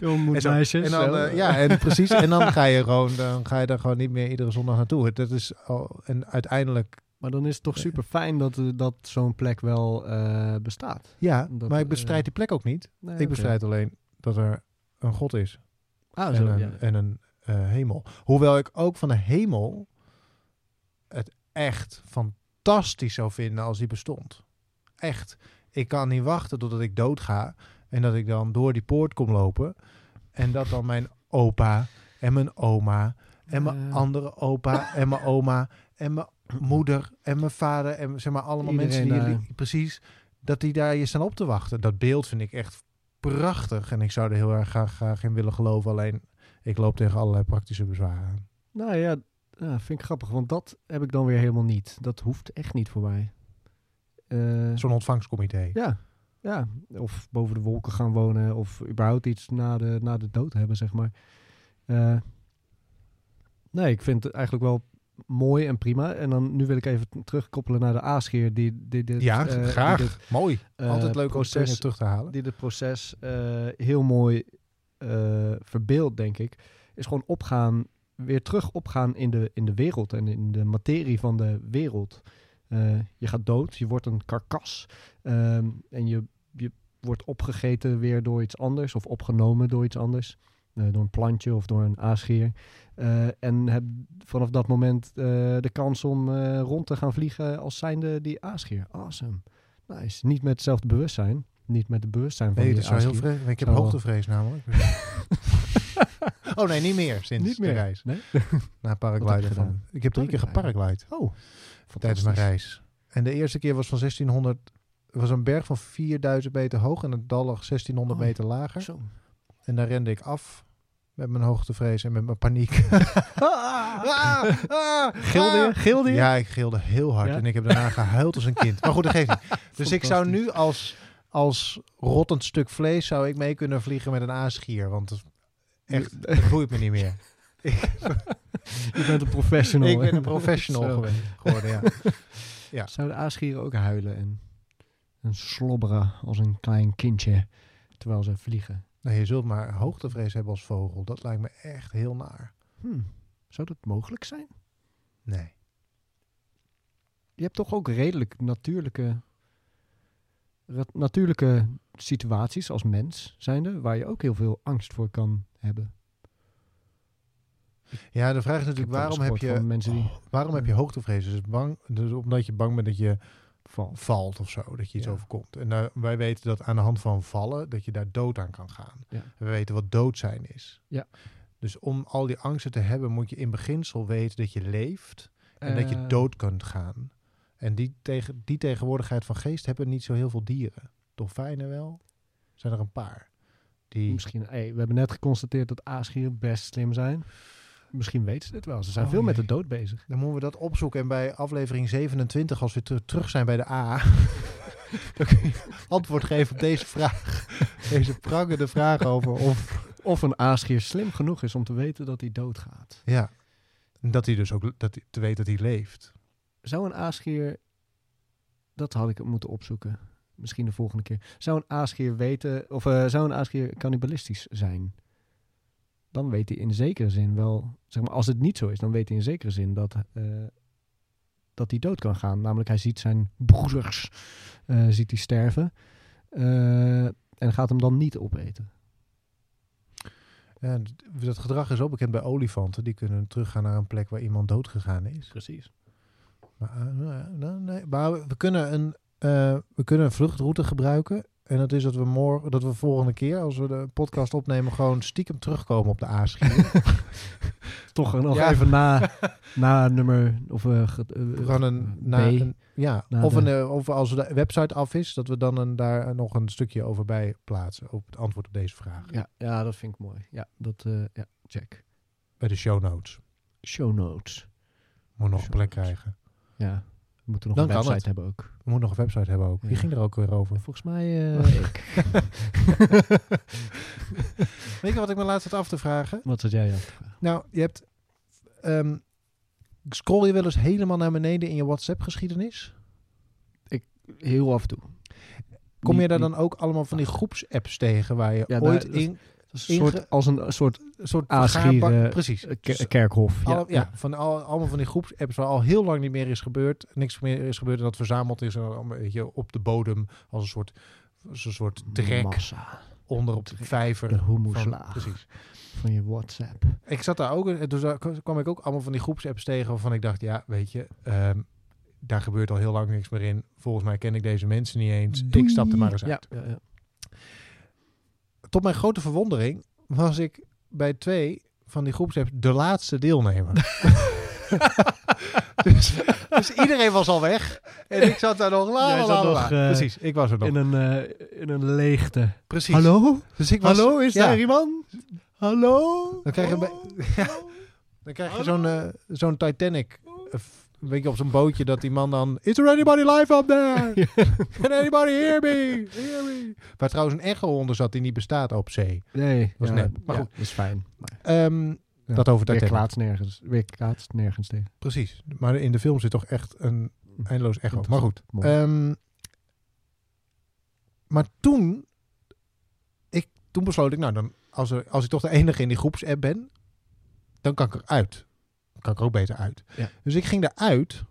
Jong En zo- meisjes. En dan, eh, ja, en precies. En dan ga je gewoon, dan ga je daar gewoon niet meer iedere zondag naartoe. Dat is al, en uiteindelijk, Maar dan is het toch super fijn dat, eh, dat zo'n plek wel eh, bestaat. ja, Dat, maar ik eh, bestrijd die plek ook niet. Nee, Ik oké. bestrijd alleen dat er een God is Ah, en zo, een, ja. en een eh, hemel. Hoewel ik ook van de hemel het echt fantastisch zou vinden als die bestond. Echt. Ik kan niet wachten totdat ik doodga en dat ik dan door die poort kom lopen en dat dan mijn opa en mijn oma en mijn Ja. andere opa en mijn oma en mijn moeder en mijn vader en zeg maar allemaal Iedereen mensen die je daar. li- precies dat die daar je staan op te wachten. Dat beeld vind ik echt prachtig en ik zou er heel erg graag, graag in willen geloven. Alleen ik loop tegen allerlei praktische bezwaren aan. Nou ja, ja, vind ik grappig, want dat heb ik dan weer helemaal niet. Dat hoeft echt niet voor mij. Eh, Zo'n ontvangstcomité. ja, ja, of boven de wolken gaan wonen, of überhaupt iets na de, na de dood hebben, zeg maar. Eh, nee, ik vind het eigenlijk wel mooi en prima. En dan nu wil ik even terugkoppelen naar de A-scheer die, die dit, Ja, eh, die graag. dit, Mooi. eh, Altijd leuk om proces dingen terug te halen. die het proces eh, heel mooi eh verbeeldt, denk ik, is gewoon opgaan, weer terug opgaan in de, in de wereld en in de materie van de wereld. Eh, je gaat dood, je wordt een karkas ehm, en je, je wordt opgegeten weer door iets anders of opgenomen door iets anders. eh, door een plantje of door een aasgeer. Eh, en heb vanaf dat moment eh, de kans om eh, rond te gaan vliegen als zijnde die aasgeer. Awesome. Nice. Niet met hetzelfde bewustzijn. Niet met het bewustzijn van Nee, die dat is wel heel aasgier. vreselijk. Ik heb Zou wel. hoogtevrees namelijk. oh nee, niet meer sinds Niet meer. de reis. Nee? Na Wat heb paragliden. je Van, gedaan? ik heb drie keer Paragliden. geparaglijd Oh, tijdens mijn fantastisch. reis. En de eerste keer was van 1600... Het was een berg van 4000 meter hoog en het dal lag 1600 Oh. meter lager. Zo. En daar rende ik af met mijn hoogtevrees en met mijn paniek. Ah, ah, Gilde je? ah. Gilde je? Ja, ik gilde heel hard. Ja? En ik heb daarna gehuild als een kind. Maar goed, dat geeft niet. Dus ik zou nu als, als rottend stuk vlees... zou ik mee kunnen vliegen met een aasgier. Want het, echt, het boeit me niet meer. Je bent een professional. Ik hè? ben een professional Zo. geweest, geworden, ja. Ja. Zouden aasgieren ook huilen en, en slobberen als een klein kindje terwijl ze vliegen? Nee, je zult maar hoogtevrees hebben als vogel. Dat lijkt me echt heel naar. Hm, Zou dat mogelijk zijn? Nee. Je hebt toch ook redelijk natuurlijke, ra- natuurlijke situaties als mens zijnde, waar je ook heel veel angst voor kan hebben. Ja, de vraag is Ik heb natuurlijk, wel eens Dus waarom heb, gehoord van Hmm. je, Oh, mensen die waarom heb je hoogtevrees? Dus, bang, dus omdat je bang bent dat je valt. valt of zo, dat je iets Ja. overkomt. En eh, wij weten dat aan de hand van vallen, dat je daar dood aan kan gaan. Ja. En we weten wat dood zijn is. Ja. Dus om al die angsten te hebben, moet je in beginsel weten dat je leeft en dat je Eh, dood kunt gaan. En die, tegen, die tegenwoordigheid van geest hebben niet zo heel veel dieren. Dolfijnen wel, zijn er een paar. Die, Misschien, hey, we hebben net geconstateerd dat aasgieren best slim zijn. Misschien weten ze dit wel. Ze zijn Oh, veel met de jee. dood bezig. Dan moeten we dat opzoeken. En bij aflevering 27, als we ter- terug zijn bij de A, dan kun je antwoord geven op deze vraag. Deze prangende vraag over of... Of een aasgier slim genoeg is om te weten dat hij doodgaat. Ja, En dat hij dus ook le- dat hij, te weten dat hij leeft. Zou een aasgier... Dat had ik moeten opzoeken. Misschien de volgende keer. Zou een aasgier weten... Of eh, zou een aasgier cannibalistisch zijn? Dan weet hij in zekere zin wel... Zeg maar, als het niet zo is, dan weet hij in zekere zin dat... eh, dat hij dood kan gaan. Namelijk, hij ziet zijn broeders... eh, ziet hij sterven. eh, en gaat hem dan niet opeten. En d- dat gedrag is ook bekend bij olifanten. Die kunnen teruggaan naar een plek waar iemand dood gegaan is. Precies. Maar, eh, nou ja, nou, nee. maar we we kunnen een, eh, we kunnen een vluchtroute gebruiken. En dat is dat we, morgen, dat we volgende keer, als we de podcast opnemen, gewoon stiekem terugkomen op de aaschier. Toch nog Ja. even na, na nummer... Of, eh, ge- eh, We gaan een, B. na, een- ja, na of, de- een, eh, of als de website af is, dat we dan een, daar nog een stukje over bij plaatsen. Op het antwoord op deze vraag. Ja, ja, dat vind ik mooi. Ja, dat eh, ja, check. Bij de show notes. Show notes. Moet nog een Show plek notes. krijgen. Ja, we moeten nog Dan een kan website het. hebben ook. We moeten nog een website hebben ook. Die Ja. ging er ook weer over. Volgens mij eh, ik. Weet je wat ik me laatst had af te vragen? Wat zat jij dan? Nou, je hebt... ehm, scroll je wel eens helemaal naar beneden in je WhatsApp-geschiedenis? Heel af en toe. Kom je Niet- daar niet- dan ook allemaal van die groepsapps tegen waar je Ja, daar- ooit dat- in... dat is een inge- soort, als een soort Een soort Aasgieren, vergaarbak- Prees. eh, ke- kerkhof. Alle- ja, van al, allemaal van die groepsapps waar al heel lang niet meer is gebeurd. Niks meer is gebeurd en dat verzameld is en dan allemaal, weet je, op de bodem als een soort, als een soort trek Massa. onder op de Trek. vijver. De Van, hummuslaag van, precies. je WhatsApp. Ik zat daar ook, en dus daar kwam ik ook allemaal van die groepsapps tegen waarvan ik dacht, ja, weet je, ehm, daar gebeurt al heel lang niks meer in. Volgens mij ken ik deze mensen niet eens. Ik stap er maar eens uit. Ja, ja, ja. Tot mijn grote verwondering was ik bij twee van die groepsapp de laatste deelnemer. dus, dus iedereen was al weg. En ik zat daar nog. La, Jij la, zat la, la. nog, eh, Precies, ik was er nog. In een, eh, in een leegte. Precies. Hallo? Dus ik was, Hallo, is ja. daar iemand? Hallo? Dan krijg je, Oh. bij- dan krijg je zo'n eh, zo'n Titanic. eh, f- weet je, op zo'n bootje dat die man dan... Is there anybody live up there? Can anybody hear me? Hear me? Waar trouwens een echo onder zat die niet bestaat op zee. Nee, Was ja, nep, maar ja, goed. is fijn. Maar, Ehm, ja, Dat over weer Titanic. klaatst nergens. Weer klaatst nergens tegen. Precies. Maar in de film zit toch echt een eindeloos echo. Maar goed. Mooi. Ehm, maar toen, ik, toen besloot ik, nou, dan, als, er, als ik toch de enige in die groepsapp ben, dan kan ik eruit. Dan kan ik er ook beter uit. Ja. Dus ik ging eruit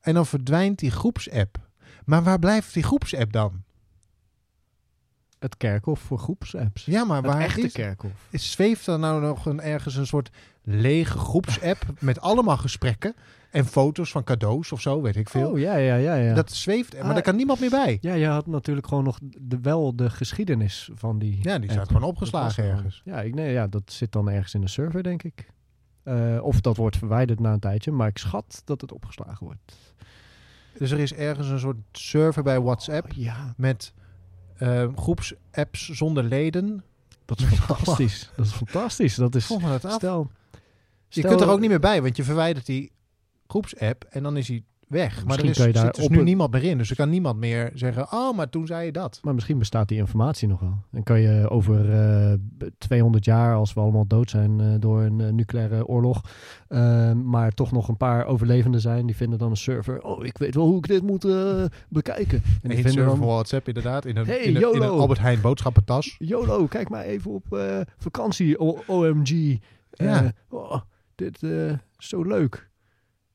en dan verdwijnt die groepsapp. Maar waar blijft die groepsapp dan? Het kerkhof voor groepsapps. Ja, maar het waar echte is, kerkhof. is- zweeft er nou nog een, ergens een soort lege groepsapp met allemaal gesprekken en foto's van cadeaus of zo, weet ik veel. Oh, ja, ja, ja. ja. Dat zweeft, maar Ah, daar kan niemand meer bij. Ja, je had natuurlijk gewoon nog de, wel de geschiedenis van die. Ja, die app. staat gewoon Dat was opgeslagen er gewoon. ergens. Ja, ik, nee, ja, dat zit dan ergens in de server, denk ik. Eh, of dat wordt verwijderd na een tijdje, maar ik schat dat het opgeslagen wordt. Dus er is ergens een soort server bij WhatsApp Oh, ja, met eh, groepsapps zonder leden. dat is fantastisch. dat is fantastisch. Dat is, Volg me dat af. stel, je stel- kunt er ook niet meer bij, want je verwijdert die groepsapp en dan is hij weg. Maar er Misschien is, kan je daar zit dus op nu een- niemand meer in, dus er kan niemand meer zeggen, oh, maar toen zei je dat. Maar misschien bestaat die informatie nog wel. En kan je over eh, b- 200 jaar, als we allemaal dood zijn eh, door een eh, nucleaire oorlog, eh, maar toch nog een paar overlevenden zijn, die vinden dan een server. Oh, ik weet wel hoe ik dit moet eh, bekijken. En die Eén vinden server dan voor WhatsApp inderdaad, in een, Hey, in een, in een YOLO. Albert Heijn boodschappentas. YOLO, kijk maar even op eh, vakantie, O- OMG. Eh, Ja. oh, dit eh, is zo leuk.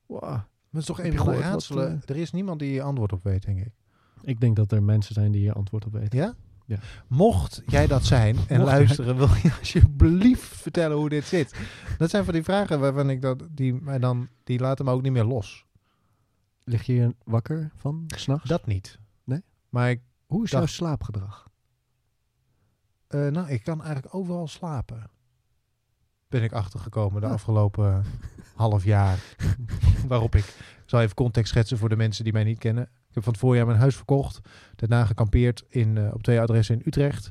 Wow. Dat is toch Heb een je van de gehoord wat, raadselen. eh, Er is niemand die hier antwoord op weet, denk ik. Ik denk dat er mensen zijn die hier antwoord op weten. Ja? Ja. Mocht jij dat zijn en jij- luisteren, wil je alsjeblieft vertellen hoe dit zit? Dat zijn van die vragen waarvan ik dat, die mij dan, die laten me ook niet meer los. Lig je hier wakker van, s'nachts? Dat niet. Nee? Maar ik, Hoe is jouw dag. slaapgedrag? eh, nou, ik kan eigenlijk overal slapen. Ben ik achtergekomen de afgelopen eh, half jaar. Waarop ik, ik zal even context schetsen voor de mensen die mij niet kennen. Ik heb van het voorjaar mijn huis verkocht. Daarna gekampeerd in, eh, op twee adressen in Utrecht.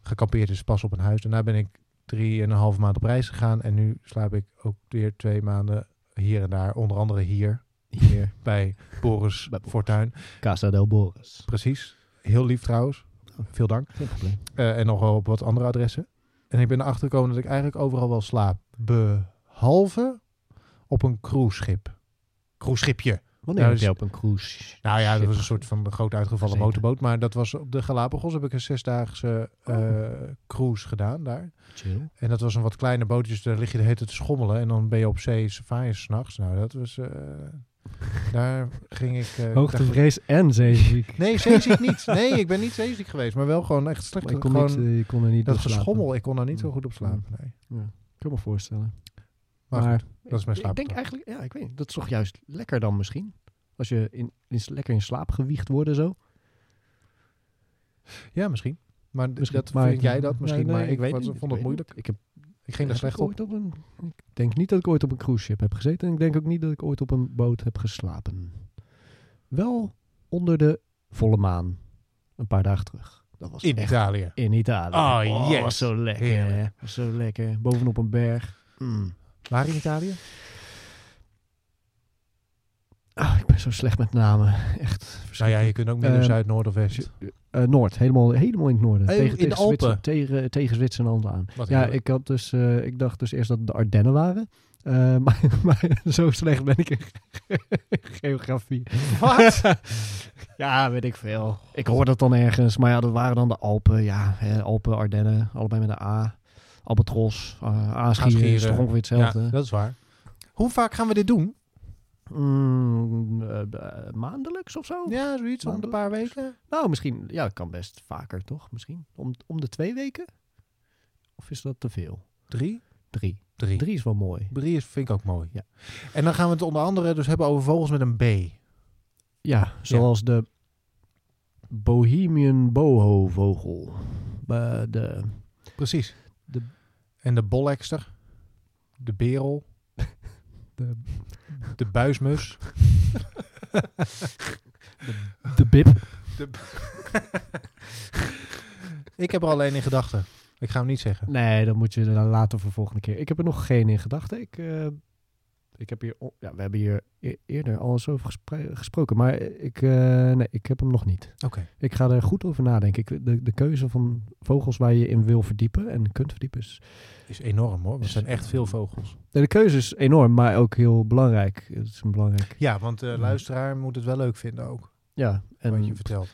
Gekampeerd is pas op een huis. Daarna ben ik drieënhalve maand op reis gegaan. En nu slaap ik ook weer twee maanden hier en daar. Onder andere hier. Hier bij Boris Bij Boris. Fortuin. Casa del Boris. Precies. Heel lief trouwens. Veel dank. Geen probleem. Eh, en nog wel op wat andere adressen. En ik ben erachter gekomen dat ik eigenlijk overal wel slaap. Behalve op een cruiseschip. Cruiseschipje. Wanneer Ja, heb dus- jij op een cruise? Nou ja, dat Schip. was een soort van groot uitgevallen Zeker. motorboot. Maar dat was op de Galapagos heb ik een zesdaagse Oh. eh, cruise gedaan daar. Chill. En dat was een wat kleine bootje, dus daar lig je de hele tijd te schommelen. En dan ben je op zee safaris s'nachts. Nou, dat was... eh, daar ging ik... eh, daar- Hoogtevrees en zeeziek. Nee, zeeziek niet. Nee, ik ben niet zeeziek geweest. Maar wel gewoon echt slecht. Maar je, kon gewoon, niet, eh, je kon er niet dat door slapen. Mm. geschommel, ik kon daar niet zo goed op slapen. Nee. Ik kan me voorstellen. Maar, Maar- goed, dat is mijn Ik denk slaapgedrag. eigenlijk, ja, ik weet niet. Dat is toch juist lekker dan misschien? Als je in, in, lekker in slaap gewiegd worden zo. Ja, misschien. Maar d- Misschien, dat maar vind ik- jij dat nee, misschien, nee, maar ik, ik weet vond- niet, ik vond weet het moeilijk. Ik, heb, Ik ging er heb slecht ik op. ooit op een, ik denk niet dat ik ooit op een cruise ship heb gezeten. En ik denk ook niet dat ik ooit op een boot heb geslapen. Wel onder de volle maan. Een paar dagen terug. Dat was In echt Italië. in Italië. Oh, yes. was zo lekker. Heerlijk. hè. Was zo lekker. Bovenop een berg. Mm. Waar in Italië? Ah, ik ben zo slecht met namen. Echt Nou ja, verschrikkelijk. je kunt ook midden, Ehm, zuid, noord of west. Eh, noord, helemaal, helemaal in het noorden. Eh, tegen, in de tegen Zwitser- Alpen? tegen, tegen Zwitserland aan. Wat Ja, heerlijk. ik, had dus, eh, ik dacht dus eerst dat het de Ardennen waren. Eh, maar, maar zo slecht ben ik in ge- geografie. Wat? Ja, weet ik veel. Ik hoorde dat dan ergens. Maar ja, dat waren dan de Alpen. Ja, hè, Alpen, Ardennen, allebei met een A. Albatros, eh Aasgieren is Aasgieren. toch ongeveer Ja, hetzelfde. dat is waar. Hoe vaak gaan we dit doen? Mm, eh, eh, maandelijks of zo? Ja, zoiets, om de paar weken. Nou, misschien. Ja, het kan best vaker, toch? Misschien. Om, om de twee weken? Of is dat te veel? Drie? Drie. Drie. Drie is wel mooi. Drie is, vind ik ook mooi. Ja. En dan gaan we het onder andere dus hebben over vogels met een B. Ja, zoals de Bohemian boho-vogel. Bij de, Precies. De- En de bollekster. de berel, De, de buismus, de bib. Ik heb er alleen in gedachten. Ik ga hem niet zeggen. Nee, dat moet je dan later voor de volgende keer. Ik heb er nog geen in gedachten. Ik, eh, ik heb hier, o- ja, we hebben hier e- eerder al eens over gespre- gesproken. Maar ik, eh, nee, ik heb hem nog niet. Oké. Ik ga er goed over nadenken. Ik, de, de keuze van vogels waar je in wil verdiepen en kunt verdiepen is... Is enorm hoor. want Er zijn echt veel vogels. Nee, de keuze is enorm, maar ook heel belangrijk. Het is een belangrijk... Ja, want de luisteraar moet het wel leuk vinden ook. Ja, wat je en vertelt.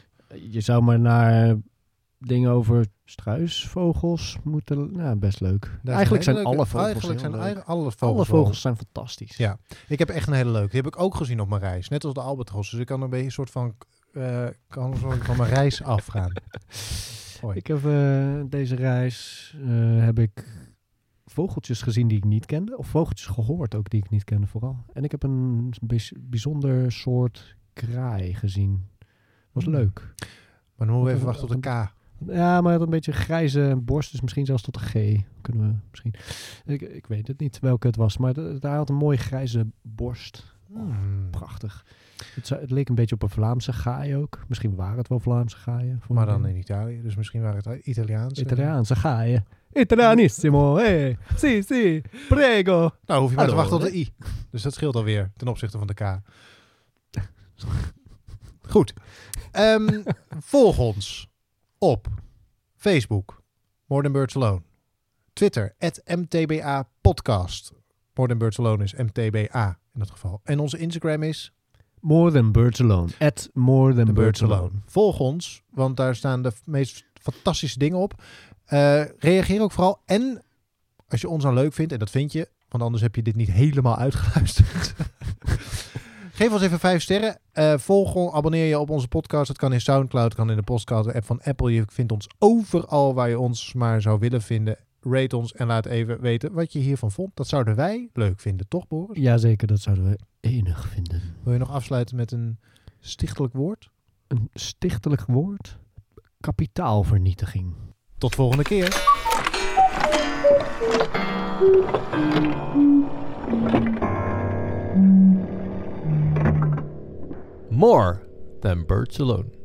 je zou maar naar dingen over struisvogels moeten... Nou, best leuk. Daar eigenlijk een zijn hele alle leuke- vogels Eigenlijk heel zijn leuk. eigenlijk alle vogels. Alle wel. vogels zijn fantastisch. Ja. Ik heb echt een hele leuke. Die heb ik ook gezien op mijn reis. Net als de albatros. Dus ik kan een beetje een soort van... eh, kan een soort van mijn reis afgaan. Hoi. Ik heb eh, deze reis eh, heb ik vogeltjes gezien die ik niet kende. Of vogeltjes gehoord ook die ik niet kende vooral. En ik heb een bijz- bijzonder soort kraai gezien. Was Hmm. leuk. Maar dan moeten we even wachten tot de K. Ja, maar het had een beetje een grijze borst. Dus misschien zelfs tot een G. Kunnen we misschien... Ik, ik weet het niet welke het was. Maar de- hij had een mooie grijze borst. Hmm. Prachtig. Het, zou- het leek een beetje op een Vlaamse gaai ook. Misschien waren het wel Vlaamse gaaien. voor Maar een dan ding. in Italië. Dus misschien waren het Italiaans. eh. Italiaanse gaaien. Italianissimo, eh. Si, si, prego. Nou, hoef je maar te Hallo, wachten tot de I. Dus dat scheelt alweer ten opzichte van de K. Goed. Ehm, volg ons op Facebook, Modern Birds Alone. Twitter, MTBA Podcast. Modern Birds Alone is MTBA in dat geval. En onze Instagram is More than birds alone. At more than The birds, Birds Alone. alone. Volg ons, want daar staan de f- meest fantastische dingen op. Eh, reageer ook vooral. En als je ons nou leuk vindt, en dat vind je, want anders heb je dit niet helemaal uitgeluisterd. Geef ons even vijf sterren. Eh, volg ons, abonneer je op onze podcast. Dat kan in Soundcloud, kan in de podcast-app van Apple. Je vindt ons overal waar je ons maar zou willen vinden. Rate ons en laat even weten wat je hiervan vond. Dat zouden wij leuk vinden, toch Boris? Jazeker, dat zouden we enig vinden. Wil je nog afsluiten met een stichtelijk woord? Een stichtelijk woord? Kapitaalvernietiging. Tot volgende keer. More than birds alone.